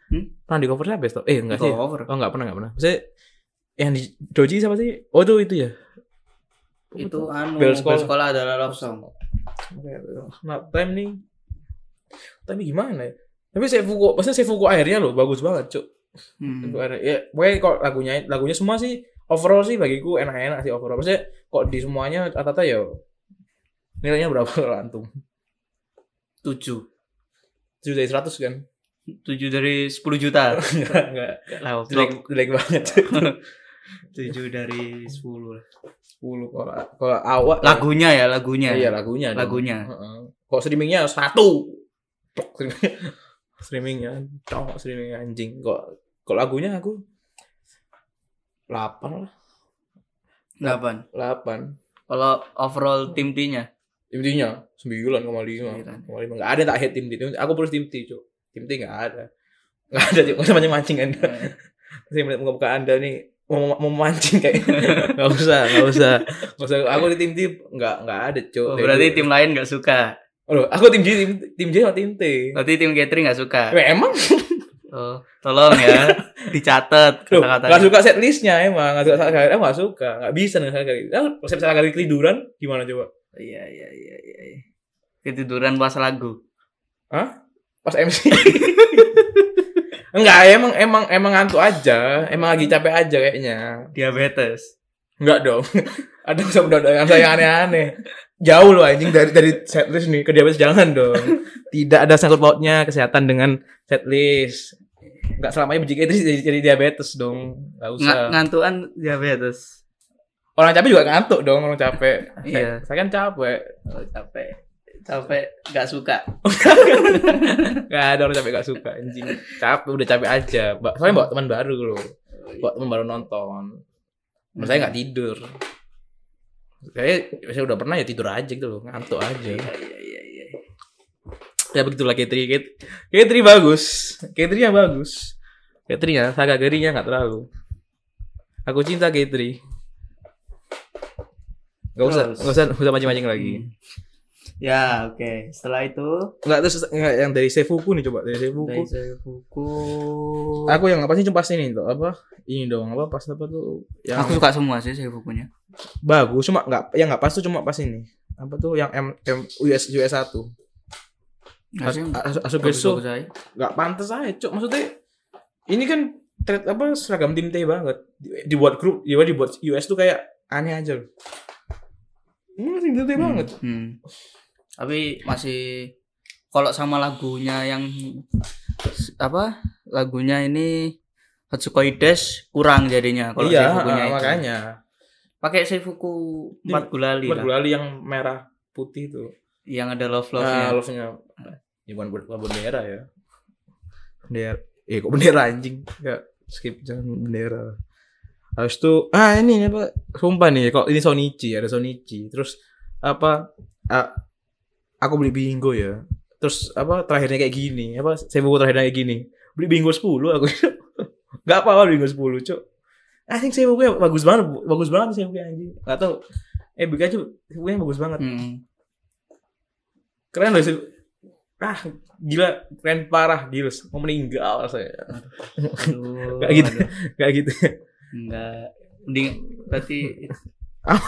Speaker 1: Hmm?
Speaker 2: Pernah di cover siapa? Sto? Eh enggak sih.
Speaker 3: Cover.
Speaker 2: Oh enggak pernah enggak pernah. Maksudnya yang di Doji siapa sih? Oh itu itu ya.
Speaker 3: itu anu bel
Speaker 2: Bel sekolah.
Speaker 3: sekolah. adalah love song
Speaker 2: Nah, time nih. Tapi gimana ya? Tapi saya Fugo, maksudnya saya Fugo akhirnya loh bagus banget, Cuk.
Speaker 1: Hmm.
Speaker 2: Fugo akhirnya. Ya, pokoknya kok lagunya lagunya semua sih overall sih bagiku enak-enak sih overall. Maksudnya kok di semuanya rata-rata ya nilainya berapa kalau antum?
Speaker 3: tujuh
Speaker 2: 7 dari 100 kan?
Speaker 1: tujuh dari sepuluh juta
Speaker 2: Enggak, enggak.
Speaker 1: lah
Speaker 2: Jelek, jelek banget.
Speaker 1: tujuh dari sepuluh
Speaker 2: 10 kalau kalau awal
Speaker 1: lagunya ya lagunya
Speaker 2: Iya, lagunya. dong.
Speaker 1: Lagunya.
Speaker 2: Heeh. Kok streamingnya satu? Plok, streaming- streamingnya, cowok streaming anjing. Kok kok lagunya aku 8 lah,
Speaker 1: delapan
Speaker 2: 8.
Speaker 1: kalau overall tim T nya
Speaker 2: Intinya
Speaker 1: Sembilan.
Speaker 2: 9,5. 9,5. Enggak ada tak hit tim T. Aku perlu tim T, Cuk. Tim T enggak ada. Enggak ada, Cuk. Enggak macam mancing Anda.
Speaker 1: Iya.
Speaker 2: Saya melihat muka-muka Anda nih mau mau mancing kayak enggak usah, enggak usah. Enggak usah. Aku di tim T enggak enggak ada, Cuk.
Speaker 1: Oh, berarti tim lain nggak suka
Speaker 2: Aduh, aku tim J, tim, tim J sama tim T.
Speaker 1: berarti tim catering nggak suka
Speaker 2: Weh, emang
Speaker 1: oh, tolong ya dicatat
Speaker 2: Loh, gak
Speaker 1: kata-kata ya.
Speaker 2: suka set listnya emang Gak suka salah kali Emang gak suka Gak bisa dengan salah kali Nah, Kalau salah kali ketiduran Gimana coba
Speaker 1: iya iya iya iya iya. ketiduran pas lagu
Speaker 2: Pas MC Enggak emang Emang emang ngantuk aja Emang lagi capek aja kayaknya
Speaker 1: diabetes
Speaker 2: Enggak dong Ada usah berdoa saya yang aneh-aneh Jauh loh anjing Dari dari setlist nih Ke diabetes jangan dong Tidak ada sangkut pautnya Kesehatan dengan setlist Enggak selamanya bejik itu jadi, jadi diabetes dong Gak usah
Speaker 1: Nga- ngantuan diabetes
Speaker 2: Orang capek juga ngantuk dong Orang capek
Speaker 1: Iya.
Speaker 2: Saya kan capek
Speaker 1: oh, capek capek nggak suka
Speaker 2: Gak ada orang capek gak suka anjing. Capek udah capek aja. Ba- Soalnya bawa teman baru loh. Bawa teman baru nonton. Menurut saya gak tidur. Saya, saya udah pernah ya tidur aja gitu loh, ngantuk aja.
Speaker 1: iya iya iya
Speaker 2: Ya begitulah Ketri. Ket- Ketri bagus. Ketrinya bagus. Ketrinya, saga gerinya gak terlalu. Aku cinta Ketri. Gak usah,
Speaker 1: Terus.
Speaker 2: gak usah, gak usah mancing-mancing lagi.
Speaker 1: ya oke setelah itu
Speaker 2: Enggak terus Hmm. nggak, yang dari Seifuku nih coba, dari Seifuku.
Speaker 1: dari saya buku
Speaker 2: Aku yang apa sih cuma pas ini tuh apa? Ini dong apa pas apa tuh? Yang
Speaker 1: aku suka semua sih saya bukunya
Speaker 2: bagus cuma nggak yang nggak pas tuh cuma pas ini. Apa tuh yang M, M US US 1.
Speaker 1: Nggak sih,
Speaker 2: besok
Speaker 1: bagus-bagus aja.
Speaker 2: nggak pantas aja, Cuk. Maksudnya ini kan thread apa seragam tim T banget. Di- Dibuat grup, ya dibuat US tuh kayak aneh aja loh. Ini tim T banget.
Speaker 1: Hmm. Tapi masih kalau sama lagunya yang apa lagunya ini Hatsukoi Dash kurang jadinya kalau
Speaker 2: iya,
Speaker 1: Seifukunya
Speaker 2: ah,
Speaker 1: itu.
Speaker 2: makanya.
Speaker 1: Pakai Seifuku empat gulali
Speaker 2: Buat
Speaker 1: lah,
Speaker 2: gulali yang merah putih tuh.
Speaker 1: yang ada love love-nya.
Speaker 2: Nah, love-nya. Ya, bukan, bukan bendera ya. Bendera. Ya kok bendera anjing. Enggak skip jangan bendera. Habis itu ah ini apa? Sumpah nih kok ini Sonichi ada Sonichi. Terus apa? ah, aku beli bingo ya. Terus apa terakhirnya kayak gini? Apa saya buku terakhirnya kayak gini? Beli bingo 10 aku. Enggak apa-apa beli bingo 10, Cuk. Anjing saya bukunya bagus banget, Bu. bagus banget saya bukunya anjing. Enggak tahu. Eh, Pikachu bukunya bagus banget
Speaker 1: Hmm.
Speaker 2: keren loh sih ah gila keren parah gila mau meninggal saya
Speaker 1: Aduh,
Speaker 2: Nggak gitu.
Speaker 1: aduh.
Speaker 2: kayak gitu
Speaker 1: Enggak. Mending berarti
Speaker 2: Apa?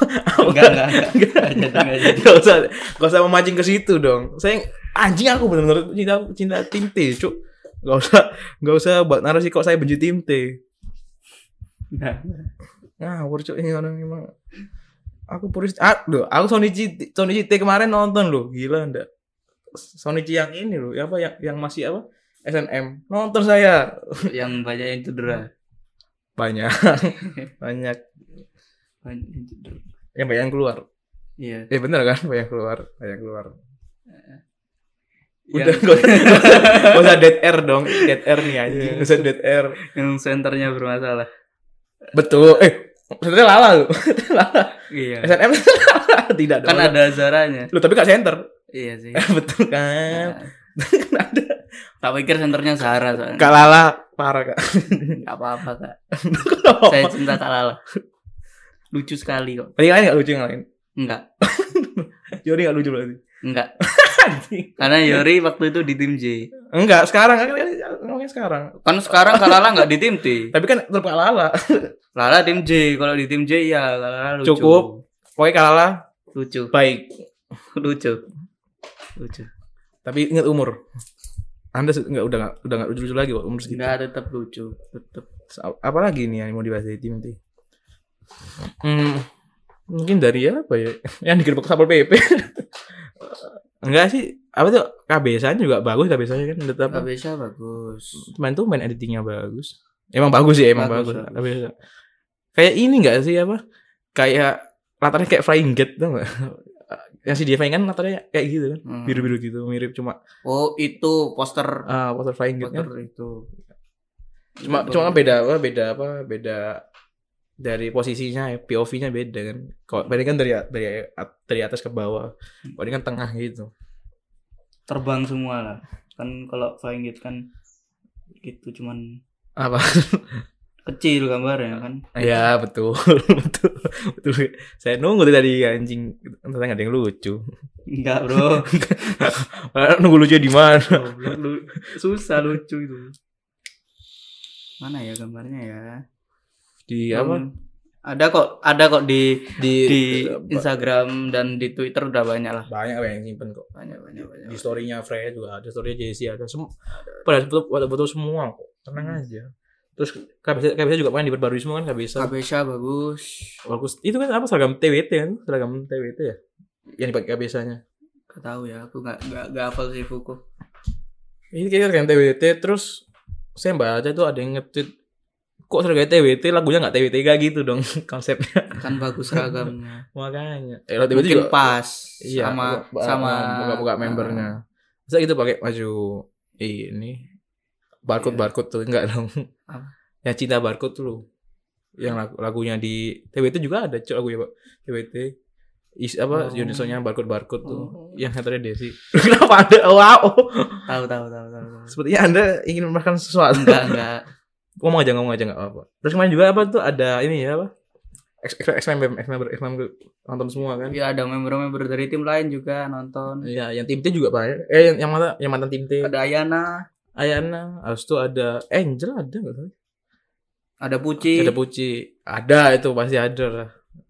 Speaker 1: enggak enggak enggak. Nggak jadi, nggak jadi.
Speaker 2: gak usah gak usah memancing ke situ dong saya anjing aku benar-benar cinta cinta tim T cuk gak usah gak usah buat narasi kok saya benci tim T
Speaker 1: Nggak.
Speaker 2: Nah, ngawur cuk ini orang emang aku puris ah loh aku Sonichi Sonichi T kemarin nonton loh gila ndak Sonichi yang ini loh yang apa yang yang masih apa SNM nonton saya
Speaker 1: Yang banyak yang cedera.
Speaker 2: banyak banyak
Speaker 1: Banyak yang cedera.
Speaker 2: yang banyak yang keluar
Speaker 1: Iya.
Speaker 2: Eh bener kan banyak keluar, banyak keluar.
Speaker 1: Yang-
Speaker 2: Udah gak usah, gak usah, gak usah dead air dong, dead air nih anjing,
Speaker 1: Iya.
Speaker 2: gak usah dead air.
Speaker 1: yang senternya bermasalah.
Speaker 2: Betul, eh sebenarnya lala lu, lala.
Speaker 1: Iya.
Speaker 2: SNM tidak dong.
Speaker 1: Kan ada zaranya.
Speaker 2: Lu tapi gak center,
Speaker 1: Iya sih.
Speaker 2: betul kan?
Speaker 1: Nah,
Speaker 2: Eh. ada Kan-
Speaker 1: Tak pikir senternya Zara soalnya.
Speaker 2: Kak Lala parah kak
Speaker 1: Gak apa-apa kak. Saya
Speaker 2: Kenapa?
Speaker 1: cinta Kak Lala. Lucu sekali kok.
Speaker 2: Yang lain gak lucu yang lain
Speaker 1: Enggak,
Speaker 2: Yori gak lucu berarti
Speaker 1: enggak. Karena Yori waktu itu di tim J.
Speaker 2: Enggak sekarang kan kan- ngomongnya sekarang
Speaker 1: Kan sekarang Kak Lala enggak di tim T.
Speaker 2: Tapi kan tetap Kak Lala
Speaker 1: Lala tim J. Kalau di tim J ya Kak Lala lucu.
Speaker 2: Cukup. Pokoknya Kak Lala
Speaker 1: Lucu,
Speaker 2: baik
Speaker 1: lucu. Lucu.
Speaker 2: Tapi ingat umur Anda se- enggak udah gak, udah gak lucu-lucu lagi kok umur segitu
Speaker 1: Enggak tetap lucu, tetap.
Speaker 2: Apa lagi nih yang mau dibahas dari tim nanti hmm, Mungkin dari apa ya Yang digerbek Sapol PP Enggak sih apa tuh KBSan juga bagus KBSan kan tetap
Speaker 1: Kak Besha bagus.
Speaker 2: main tuh main editingnya bagus emang bagus sih emang
Speaker 1: Bagus,
Speaker 2: bagus, Tapi ya, kayak ini nggak sih apa kayak latarnya kayak flying get tau nggak yang si Define kan latarnya kayak gitu kan
Speaker 1: Hmm.
Speaker 2: biru biru gitu mirip cuma
Speaker 1: Oh, itu poster
Speaker 2: ah poster flying get
Speaker 1: poster
Speaker 2: kan
Speaker 1: itu.
Speaker 2: cuma cuma kan beda apa beda apa beda dari posisinya POV-nya beda kan kalau ini kan dari dari dari atas ke bawah kalau ini kan tengah gitu
Speaker 3: terbang semua lah kan kalau flying gate kan gitu cuman
Speaker 2: apa
Speaker 3: kecil gambarnya kan
Speaker 2: ya betul betul betul saya nunggu dari anjing ternyata nggak ada yang lucu
Speaker 3: enggak bro
Speaker 2: Lah, nunggu lucu di mana?
Speaker 3: Goblok, lu- susah lucu itu mana ya gambarnya ya
Speaker 2: Di
Speaker 1: Hmm. Ada kok, ada kok di
Speaker 2: Di,
Speaker 1: di
Speaker 2: iya.
Speaker 1: Instagram dan di Twitter udah banyak lah.
Speaker 2: banyak apa yang nyimpen kok.
Speaker 1: Banyak banyak banyak.
Speaker 2: Di story-nya Freya juga ada, story-nya Jessie ada. Sem pada foto pada foto semua kok. Tenang aja. Terus KBC, KBC juga main diperbarui semua kan KBC.
Speaker 1: Kak Besha bagus.
Speaker 2: Bagus. Itu kan apa seragam TWT kan? Seragam TWT ya? Yang dipakai KBC-nya.
Speaker 1: Gak tahu ya, aku gak gak, gak hafal sih Fuku.
Speaker 2: Ini kayaknya seragam TWT terus saya baca tuh ada yang nge-tweet kok seragam TWT lagunya nggak TWT gak gitu dong konsepnya.
Speaker 1: Kan bagus seragamnya.
Speaker 2: Makanya. Eh, TWT
Speaker 1: Mungkin
Speaker 2: juga
Speaker 1: pas
Speaker 2: Iya,
Speaker 1: sama
Speaker 2: buka-
Speaker 1: sama
Speaker 2: buka-buka membernya. Masa gitu pakai baju ini barcode barcode tuh enggak dong.
Speaker 1: Apa?
Speaker 2: Yang cinta barcode tuh. loh. Yang lagu- lagunya di TWT juga ada cok lagunya Pak. TWT is apa
Speaker 1: Oh.
Speaker 2: Yunisonya barcode barcode tuh.
Speaker 1: Oh.
Speaker 2: Yang katanya Desi. Iya, Kenapa Anda Oh, wow?
Speaker 1: Tahu tahu tahu tahu. tahu.
Speaker 2: Sepertinya Anda ingin memakan sesuatu.
Speaker 1: Enggak enggak.
Speaker 2: ngomong aja ngomong aja enggak apa-apa. Terus kemarin juga apa tuh ada ini ya apa? Ex ex ex member ex member ex member nonton semua kan?
Speaker 1: Ya ada member-member dari tim lain juga nonton.
Speaker 2: Iya, yang tim T juga banyak. Eh, yang yang mantan yang mantan tim T.
Speaker 1: Ada Ayana,
Speaker 2: Ayana, habis itu ada Angel ada nggak sih?
Speaker 1: ada Puci.
Speaker 2: Ada Puci, ada itu pasti ada lah.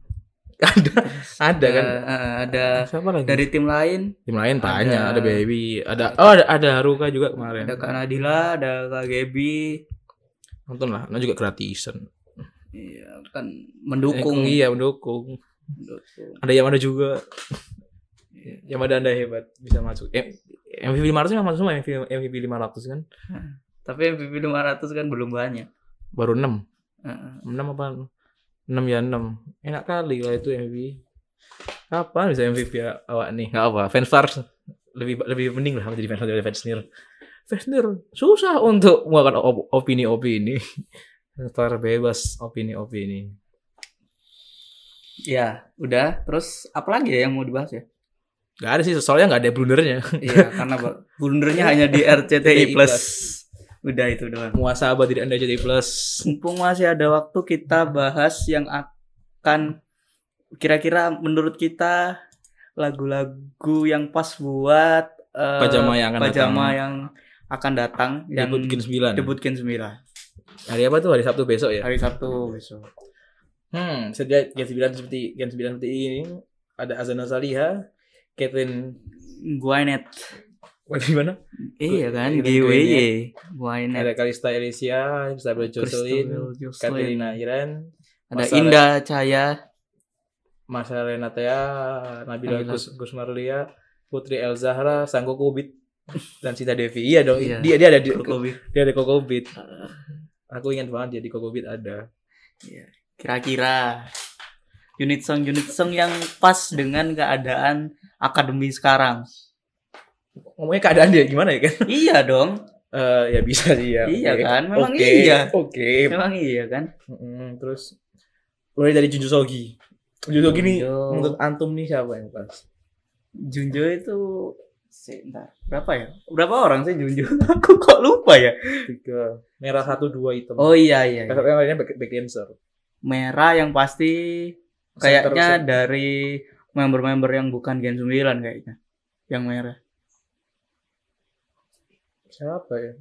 Speaker 2: Ada, ada kan?
Speaker 1: Eh, eh, ada
Speaker 2: Siapa lagi?
Speaker 1: dari tim lain,
Speaker 2: tim lain
Speaker 1: ada-
Speaker 2: banyak, ada Baby, ada oh ada, ada kan? Haruka juga kemarin.
Speaker 1: ada Kak Nadila, ada Kak Gebi.
Speaker 2: Nonton lah, nah juga gratisan.
Speaker 1: Iya, kan mendukung.
Speaker 2: Eh, iya mendukung.
Speaker 1: Mendukung.
Speaker 2: Ada yang ada juga. yang ada anda hebat bisa masuk. Eh, MVP 500 memang masuk semua MVP, MVP 500 kan?
Speaker 1: Tapi MVP 500 kan belum banyak. Eh,
Speaker 2: Baru 6.
Speaker 1: Heeh.
Speaker 2: 6 apa? 6 ya 6. Enak kali lah itu MVP. Kapan bisa MVP ya, awak nih? Enggak apa, fanstars lebih lebih mending lah menjadi fanstars daripada fansnir. Fansnir susah untuk mengeluarkan op- opini-opini. Fanstar bebas opini-opini.
Speaker 1: Ya, udah. Terus apa lagi ya yang mau dibahas ya?
Speaker 2: Gak ada sih, soalnya gak ada blundernya.
Speaker 1: Iya, karena ba- blundernya hanya di RCTI Plus. Udah itu doang.
Speaker 2: Muasabah tidak anda jadi plus.
Speaker 1: Mumpung masih ada waktu kita bahas yang akan kira-kira menurut kita lagu-lagu yang pas buat eh,
Speaker 2: Pajama yang akan
Speaker 1: pajama
Speaker 2: datang.
Speaker 1: yang akan datang yang
Speaker 2: Debut Gen 9.
Speaker 1: debut Gen 9
Speaker 2: Hari apa tuh? Hari Sabtu besok ya?
Speaker 1: hari Sabtu besok.
Speaker 2: Hmm, sedia Gen 9 seperti Gen 9 seperti ini ada Azana Saliha, Catherine
Speaker 1: Gwinet.
Speaker 2: Wah, gimana?
Speaker 1: Iya kan,
Speaker 2: Gwyneth.
Speaker 1: GWY. Gwinet.
Speaker 2: Ada Kalista Elysia, Isabel Jocelyn,
Speaker 1: Crystal Jocelyn.
Speaker 2: Katerina Iren,
Speaker 1: Ada
Speaker 2: Masalah-
Speaker 1: Indah Cahaya.
Speaker 2: Masa Renatea, Nabila
Speaker 1: Nabila.
Speaker 2: Gus, Gus Marlia, Putri El Zahra, Sangko Kubit, dan Sita Devi. Iya dong,
Speaker 1: Iya.
Speaker 2: dia dia ada di
Speaker 1: Kurkobi.
Speaker 2: dia ada Kokobit. Aku ingat banget dia di Kokobit ada.
Speaker 1: Kira-kira unit song unit song yang pas dengan keadaan akademi sekarang.
Speaker 2: Ngomongnya keadaan dia gimana ya kan?
Speaker 1: iya dong.
Speaker 2: Eh, ya bisa sih ya.
Speaker 1: Iya
Speaker 2: Oke.
Speaker 1: kan, memang
Speaker 2: Oke,
Speaker 1: iya.
Speaker 2: Oke.
Speaker 1: Memang iya kan?
Speaker 2: Mm-mm, terus mulai dari Junju Sogi. Junju Sogi nih
Speaker 1: Junjo.
Speaker 2: menurut antum nih siapa yang pas?
Speaker 1: Junjo itu Sebentar. Berapa ya? Berapa orang sih Junju? Aku kok lupa ya?
Speaker 2: tiga merah satu dua hitam
Speaker 1: Oh iya iya. iya.
Speaker 2: Yang lainnya back, back dancer.
Speaker 1: Merah yang pasti kayaknya
Speaker 2: Center-
Speaker 1: dari member-member yang bukan Gen 9 kayaknya. Yang merah.
Speaker 2: siapa ya?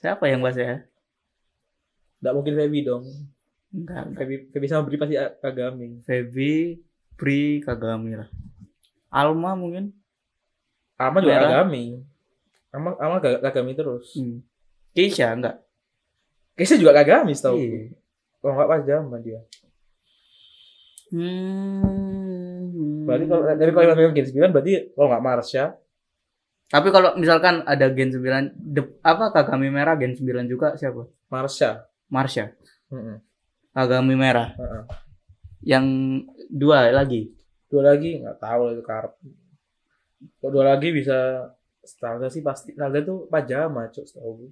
Speaker 1: Siapa yang bahasa ya?
Speaker 2: Enggak mungkin Feby dong.
Speaker 1: Enggak, enggak.
Speaker 2: Feby, Feby sama Bri pasti a- Kagami.
Speaker 1: Feby, Pri, Kagami lah. Alma mungkin.
Speaker 2: Ama juga
Speaker 1: Merah.
Speaker 2: Kagami. Ama Ama Ga- Kagami terus.
Speaker 1: Hmm. Keisha enggak?
Speaker 2: Kayaknya juga Kagami tahu.
Speaker 1: Iya.
Speaker 2: Kalau nggak pas jam dia.
Speaker 1: Hmm.
Speaker 2: Berarti kalau dari kalau yang Gen 9 berarti kalau nggak Marsha,
Speaker 1: Tapi kalau misalkan ada Gen 9 de- apa Kagami merah Gen 9 juga siapa?
Speaker 2: Marsha.
Speaker 1: Marsha,
Speaker 2: Mm-mm.
Speaker 1: Kagami merah.
Speaker 2: Heeh.
Speaker 1: Yang dua lagi.
Speaker 2: Dua lagi nggak tahu lah itu karep. Kalau dua lagi bisa Stalda sih pasti Stalda tuh pajama cok setahu gue.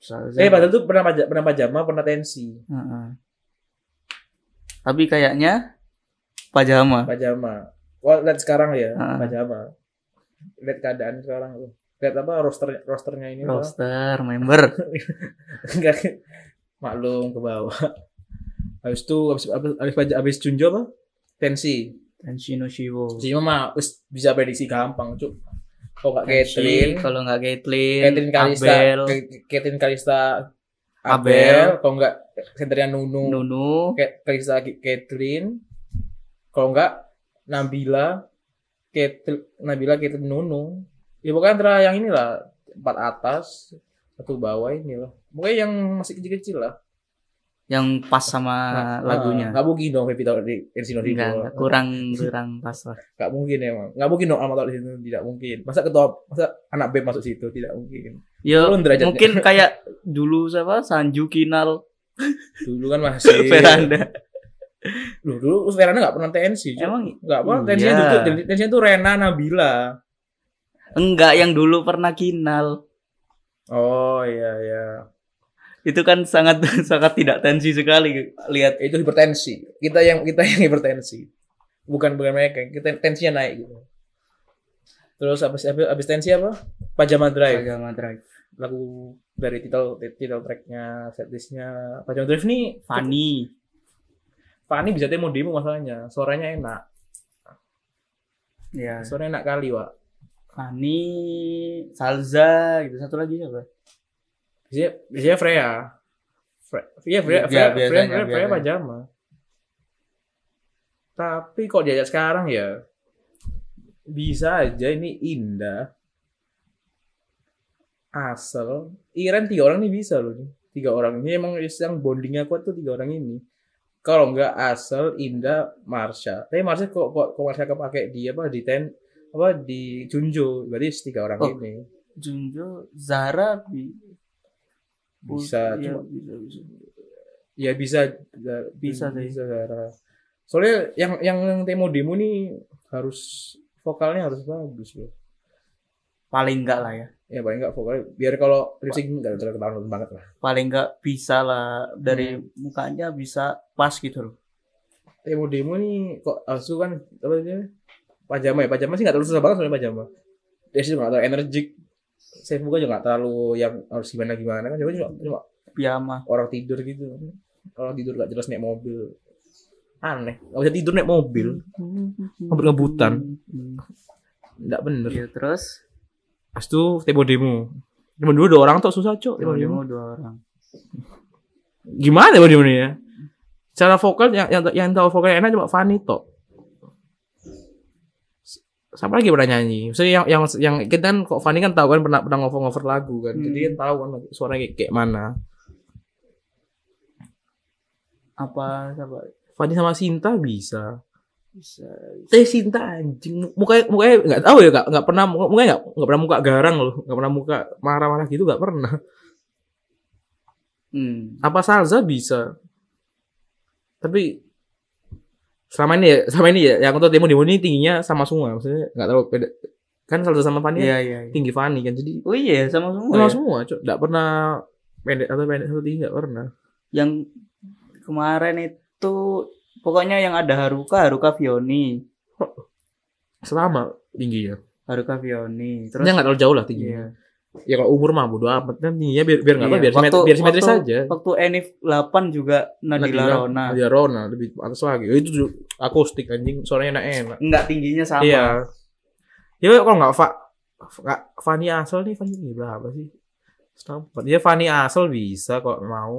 Speaker 1: Salza.
Speaker 2: Eh padahal tuh pernah paja- pernah pajama pernah tensi
Speaker 1: Heeh. Tapi kayaknya pajama.
Speaker 2: pajama. Wah lihat sekarang ya
Speaker 1: Heeh.
Speaker 2: pajama. Lihat keadaan sekarang tuh. Lihat apa roster rosternya ini Pak.
Speaker 1: Roster member.
Speaker 2: Enggak. Maklum ke bawah. Habis itu habis habis habis, paja- habis Junjo apa? Tensi.
Speaker 1: Tenshino Shiwo.
Speaker 2: Jadi mah wis bisa prediksi gampang, Cuk. Kalau enggak
Speaker 1: Tenshi,
Speaker 2: Caitlyn,
Speaker 1: kalau nggak Caitlyn,
Speaker 2: Caitlyn Kalista,
Speaker 1: Abel,
Speaker 2: Ke- Caitlyn Kalista
Speaker 1: Abel.
Speaker 2: Abel, kalau enggak senternya Nunu,
Speaker 1: Nunu,
Speaker 2: Ke- Kalista Ki- Caitlyn. Kalau enggak Nabila, Caitlyn Nabila Caitlyn Nunu. Ya bukan antara yang inilah empat atas satu bawah inilah. Mungkin yang masih kecil-kecil lah.
Speaker 1: yang pas sama Ah, lagunya.
Speaker 2: Gak mungkin dong Feby tahu di Ersino di
Speaker 5: Enggak, enggak, kurang kurang pas lah.
Speaker 2: Gak mungkin emang. Gak mungkin dong Alma tahu di situ. Tidak mungkin. Masa ketua, masa anak BEM masuk situ? Tidak mungkin.
Speaker 5: Yo,
Speaker 2: Turun derajatnya.
Speaker 5: mungkin kayak dulu siapa Sanju Kinal
Speaker 2: Dulu kan
Speaker 1: Iya.
Speaker 2: masih.
Speaker 5: Veranda.
Speaker 2: Dulu, dulu Veranda gak pernah TNC. cuy.
Speaker 5: Emang
Speaker 2: Gak apa?
Speaker 5: Iya.
Speaker 2: Tensinya dulu tuh, tensinya tuh Rena Nabila.
Speaker 5: enggak yang dulu pernah Kinal.
Speaker 2: Oh iya iya.
Speaker 5: Itu kan sangat sangat tidak tensi sekali lihat
Speaker 2: Itu hipertensi. Kita yang kita yang hipertensi. Bukan bukan mereka. Kita tensinya naik gitu. Terus abis, abis, abis tensi apa? Pajama Drive.
Speaker 1: Pajama Drive.
Speaker 2: lagu dari title title tracknya setlistnya Pajang Drive nih
Speaker 5: Fanny.
Speaker 2: Fani bisa demo demo masalahnya suaranya enak
Speaker 1: Ya,
Speaker 2: suaranya enak kali wa
Speaker 1: Fani, Salza, gitu satu lagi siapa?
Speaker 2: biasanya biasanya Freya Freya iya Freya
Speaker 1: Ya,
Speaker 2: Freya Freya,
Speaker 1: biasanya,
Speaker 2: Freya, Freya
Speaker 1: biasanya.
Speaker 2: pajama tapi kok diajak sekarang ya bisa aja ini indah asal Iren tiga orang nih bisa loh nih tiga orang ini emang yang bondingnya kuat tuh tiga orang ini kalau nggak asal Indah Marsha tapi Marsha kok kok, kok Marsha kepake di apa di ten apa di Junjo berarti tiga orang
Speaker 1: Oh.
Speaker 2: ini
Speaker 1: Junjo, Zara, Bi-
Speaker 2: bisa
Speaker 1: Iya,
Speaker 2: cuma
Speaker 1: bisa, bisa.
Speaker 2: Ya bisa Zara.
Speaker 1: Bisa sih.
Speaker 2: Bisa Zara. Soalnya yang yang yang demo demo nih harus vokalnya harus bagus loh.
Speaker 1: Paling enggak lah ya.
Speaker 2: Ya paling nggak vokalnya biar kalau lip sync nggak terlalu ketahuan banget lah.
Speaker 1: Paling enggak bisa lah dari mukanya bisa pas gitu loh.
Speaker 2: Demo demo nih kok asu kan apa namanya? Pajama ya, pajama sih nggak terlalu susah banget soalnya pajama. Dia sih nggak terlalu energik. Saya juga nggak terlalu yang harus gimana gimana kan cuma cuma- cuma
Speaker 1: Piyama.
Speaker 2: orang tidur gitu. Orang tidur nggak jelas naik mobil. Aneh, nggak bisa tidur naik mobil. Ngebut-ngebutan. Nggak bener.
Speaker 1: Ya Hmm. terus
Speaker 2: Pas itu temo demo. Cuma dulu dua orang tuh susah cok. Temo
Speaker 1: demo
Speaker 2: demo.
Speaker 1: dua orang.
Speaker 2: Gimana temo demo ya? Cara vokal yang yang, yang tahu vokalnya enak cuma Fanny tok. S- Siapa lagi pernah nyanyi? Maksudnya yang yang yang kita kan kok Fanny kan tahu kan pernah pernah ngover ngover lagu kan. Jadi
Speaker 1: Hmm.
Speaker 2: kan tahu kan suaranya kayak, kayak mana.
Speaker 1: Apa siapa
Speaker 2: Fanny sama Sinta bisa.
Speaker 1: bisa
Speaker 2: Teh Sinta anjing mukanya mukanya nggak tahu ya nggak nggak pernah muka- mukanya nggak nggak pernah muka garang loh nggak pernah muka marah-marah gitu nggak pernah.
Speaker 1: hmm.
Speaker 2: apa Salza bisa tapi selama ini ya selama ini ya yang aku tahu demo demo ini tingginya sama semua maksudnya nggak tahu beda kan Salza sama Fanny
Speaker 1: Iya iya. iya.
Speaker 2: tinggi Fanny kan jadi
Speaker 1: Oh iya sama semua.
Speaker 2: sama
Speaker 1: ya?
Speaker 2: semua cok nggak pernah pendek atau pendek atau tinggi nggak pernah
Speaker 1: Yang kemarin itu pokoknya yang ada Haruka, Haruka Fioni.
Speaker 2: selama tinggi ya
Speaker 1: Haruka Fioni. Terus
Speaker 2: Terus, nggak terlalu jauh lah tingginya.
Speaker 1: iya.
Speaker 2: Ya kalau umur mah bodo amat kan tingginya biar biar nggak apa
Speaker 1: Iya,
Speaker 2: biar, simet-
Speaker 1: waktu-
Speaker 2: biar simetris
Speaker 1: waktu-
Speaker 2: aja.
Speaker 1: Waktu Enif 8 juga Nadila
Speaker 2: Nadila-
Speaker 1: Rona.
Speaker 2: Iya Rona lebih atas lagi. Oh, itu ju- akustik anjing suaranya enak-enak.
Speaker 1: Enggak tingginya sama.
Speaker 2: Iya. Ya kalau nggak Fa nggak Fani Asal nih Fani ini berapa sih? Setampet. Ya Fani Asal bisa kalau mau.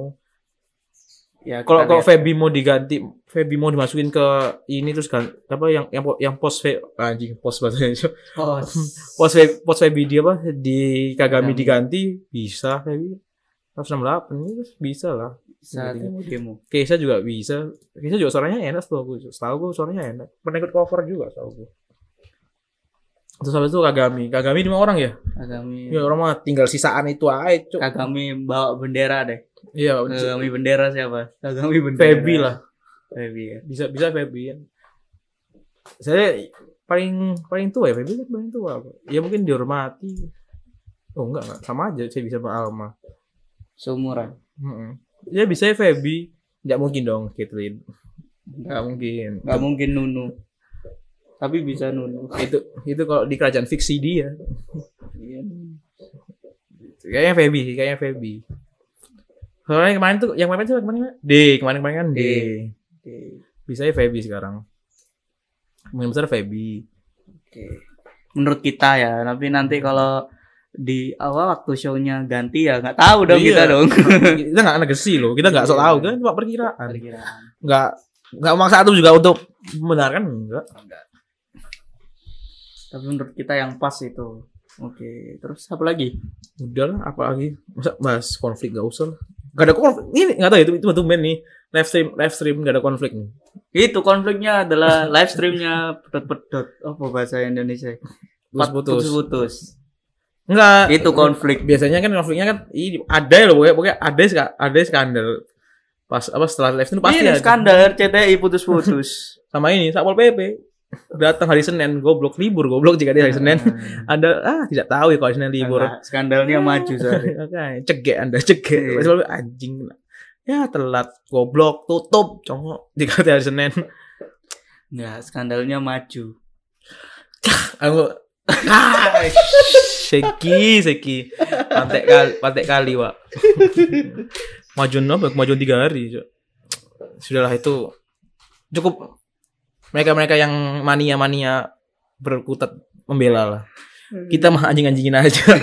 Speaker 1: Ya,
Speaker 2: Kalau
Speaker 1: kita
Speaker 2: kalau
Speaker 1: lihat.
Speaker 2: Feby mau diganti, Feby mau dimasukin ke ini terus kan apa yang yang po- yang pos Fe anjing pos bahasanya.
Speaker 1: Oh,
Speaker 2: Pos Fe pos Feby dia apa di Kagami
Speaker 1: Kagami.
Speaker 2: diganti bisa Feby. 168 ini terus bisa lah.
Speaker 1: saat
Speaker 2: Iya.
Speaker 1: demo.
Speaker 2: Keisha juga bisa. Keisha juga suaranya enak tuh aku. Setahu gue suaranya enak. Pernah ikut cover juga setahu gue. Terus habis itu Kagami. Kagami lima orang ya?
Speaker 1: Kagami.
Speaker 2: Ya orang mah tinggal sisaan itu aja, Cuk.
Speaker 1: Kagami bawa bendera deh.
Speaker 2: Iya,
Speaker 1: Kagami bendera siapa? Kagami bendera.
Speaker 2: Feby lah.
Speaker 1: Feby ya.
Speaker 2: Bisa bisa Feby. Saya paling paling tua ya Feby kan paling tua. Ya mungkin dihormati. Oh enggak, enggak. sama aja saya bisa sama Alma.
Speaker 1: Seumuran.
Speaker 2: Mm-mm. Ya bisa ya Feby. Enggak mungkin dong Caitlyn. Enggak mungkin.
Speaker 1: Gak mungkin Nunu. Tapi bisa Nunu.
Speaker 2: Itu itu kalau di kerajaan fiksi dia.
Speaker 1: Iya.
Speaker 2: Kayaknya Feby sih, kayaknya Feby. Soalnya kemarin tuh, yang kemarin siapa kemarin? Mak? D, kemarin-kemarin kan D.
Speaker 1: D. Oke.
Speaker 2: Bisa ya Feby sekarang. Mungkin besar Feby.
Speaker 1: Oke. Menurut kita ya, tapi nanti kalau di awal waktu show-nya ganti ya nggak tahu dong
Speaker 2: Iya.
Speaker 1: kita dong.
Speaker 2: kita nggak negesi loh, kita nggak sok
Speaker 1: Iya.
Speaker 2: tahu kan, cuma perkiraan.
Speaker 1: Perkiraan.
Speaker 2: Nggak nggak maksa itu juga untuk membenarkan enggak.
Speaker 1: Tapi menurut kita yang pas itu. Oke, terus apa lagi?
Speaker 2: Udah lah, apalagi masa bahas konflik nggak usah lah. Gak ada konflik, ini nggak tahu ya, itu itu betul nih. Live stream, live stream nggak ada konflik nih.
Speaker 1: Itu konfliknya adalah live streamnya pedot-pedot. Apa bahasa Indonesia?
Speaker 2: Putus-putus.
Speaker 1: Putus-putus.
Speaker 2: Enggak.
Speaker 1: Itu konflik.
Speaker 2: biasanya kan konfliknya kan ini ada ya loh pokoknya, pokoknya ada ska- ada skandal pas apa setelah live stream pasti
Speaker 1: Ini
Speaker 2: ada.
Speaker 1: Iya, skandal RCTI putus-putus.
Speaker 2: sama ini Satpol PP datang hari Senin goblok libur goblok jika dia hari Iya, Senin Anda ah tidak tahu ya kalau hari Senin libur
Speaker 1: Enggak, skandalnya maju sorry.
Speaker 2: Oke, cegek Anda cegek
Speaker 1: Iya.
Speaker 2: Satpol PP, anjing ya telat goblok tutup congok jika dia hari Senin
Speaker 1: Enggak, skandalnya maju.
Speaker 2: aku ah, seki seki pantek kali pantek kali pak majuin apa majuin tiga hari Cok. sudahlah itu cukup mereka mereka yang mania mania berkutat membela lah kita mah anjing anjingin aja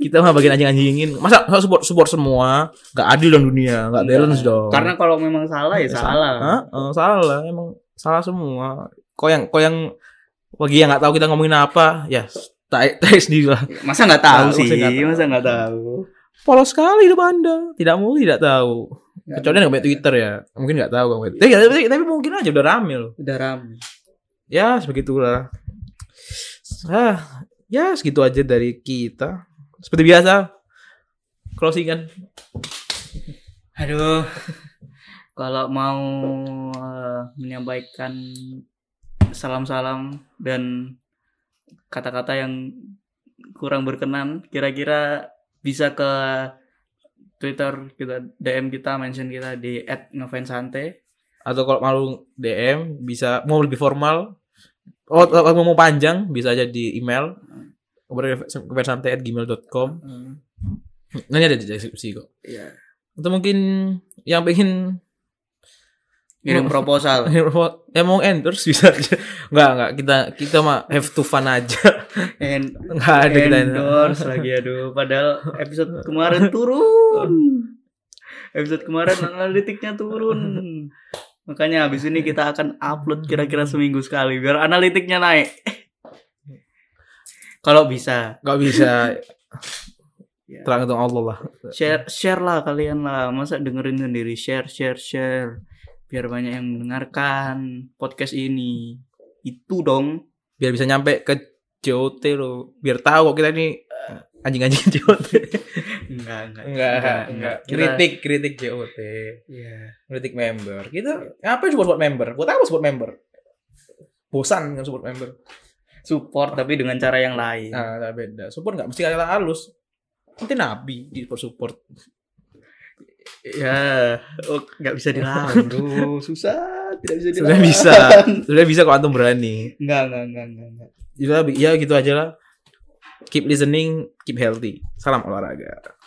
Speaker 2: kita mah bagian anjing anjingin masa masa support support semua nggak adil dong dunia nggak balance
Speaker 1: Iya.
Speaker 2: dong Iya,
Speaker 1: Karena kalau memang salah ya salah.
Speaker 2: Hah? Eh, salah, emang salah semua. Kok yang kok yang bagi yang nggak tahu kita ngomongin apa, ya tai tai sendiri lah.
Speaker 1: Masa nggak tahu
Speaker 2: Nah,
Speaker 1: sih?
Speaker 2: masa nggak tahu.
Speaker 1: Masa nggak tahu?
Speaker 2: Polos sekali hidup Anda. Tidak mau tidak tahu. Kecuali yang punya Twitter ya. Mungkin nggak tahu Bang. Tapi, tapi, tapi mungkin aja udah rame loh.
Speaker 1: udah ramai.
Speaker 2: Ya, sebegitulah. Ah, ya segitu aja dari kita. Seperti biasa closing kan.
Speaker 1: Aduh. Kalau mau eh, menyampaikan salam-salam dan kata-kata yang kurang berkenan, kira-kira bisa ke Twitter kita DM kita mention kita di @ngefansante.
Speaker 2: Atau kalau mau DM bisa mau lebih formal. Oh, kalau mau panjang bisa aja di email kebersantai@gmail.com
Speaker 1: Hmm,
Speaker 2: Nanti ada di deskripsi kok.
Speaker 1: Iya.
Speaker 2: Atau mungkin yang pengen
Speaker 1: Kirim proposal.
Speaker 2: yang mau endorse bisa aja. Enggak, enggak. Kita kita mah have to fun aja.
Speaker 1: And
Speaker 2: Enggak ada kita
Speaker 1: endorse lagi aduh padahal episode kemarin turun episode kemarin analitiknya turun makanya habis ini kita akan upload kira-kira seminggu sekali biar analitiknya naik kalau bisa
Speaker 2: Enggak bisa.
Speaker 1: Ya.
Speaker 2: Tergantung Allah lah.
Speaker 1: share share lah kalian lah masa dengerin sendiri share share share biar banyak yang mendengarkan podcast ini itu dong
Speaker 2: Biar bisa nyampe ke JOT lo. Biar tahu kok kita ini eh, anjing-anjing JOT.
Speaker 1: enggak enggak Kita-
Speaker 2: Kritik, kritik JOT.
Speaker 1: Iya.
Speaker 2: Kritik member. Kita apa support buat member? Buat apa support member? Bosan dengan support member.
Speaker 1: support tapi dengan cara yang lain
Speaker 2: Nah, nggak beda. Support nggak mesti kata halus. Nanti nabi di support support. Ya,
Speaker 6: Oh, nggak bisa dilawan.
Speaker 1: Aduh, susah, tidak bisa
Speaker 2: sudah
Speaker 1: dilawan.
Speaker 2: bisa. Sudah bisa kalau antum berani.
Speaker 1: Enggak, enggak, enggak, enggak, enggak.
Speaker 2: Ya, ya gitu aja lah. Keep listening, keep healthy. Salam olahraga.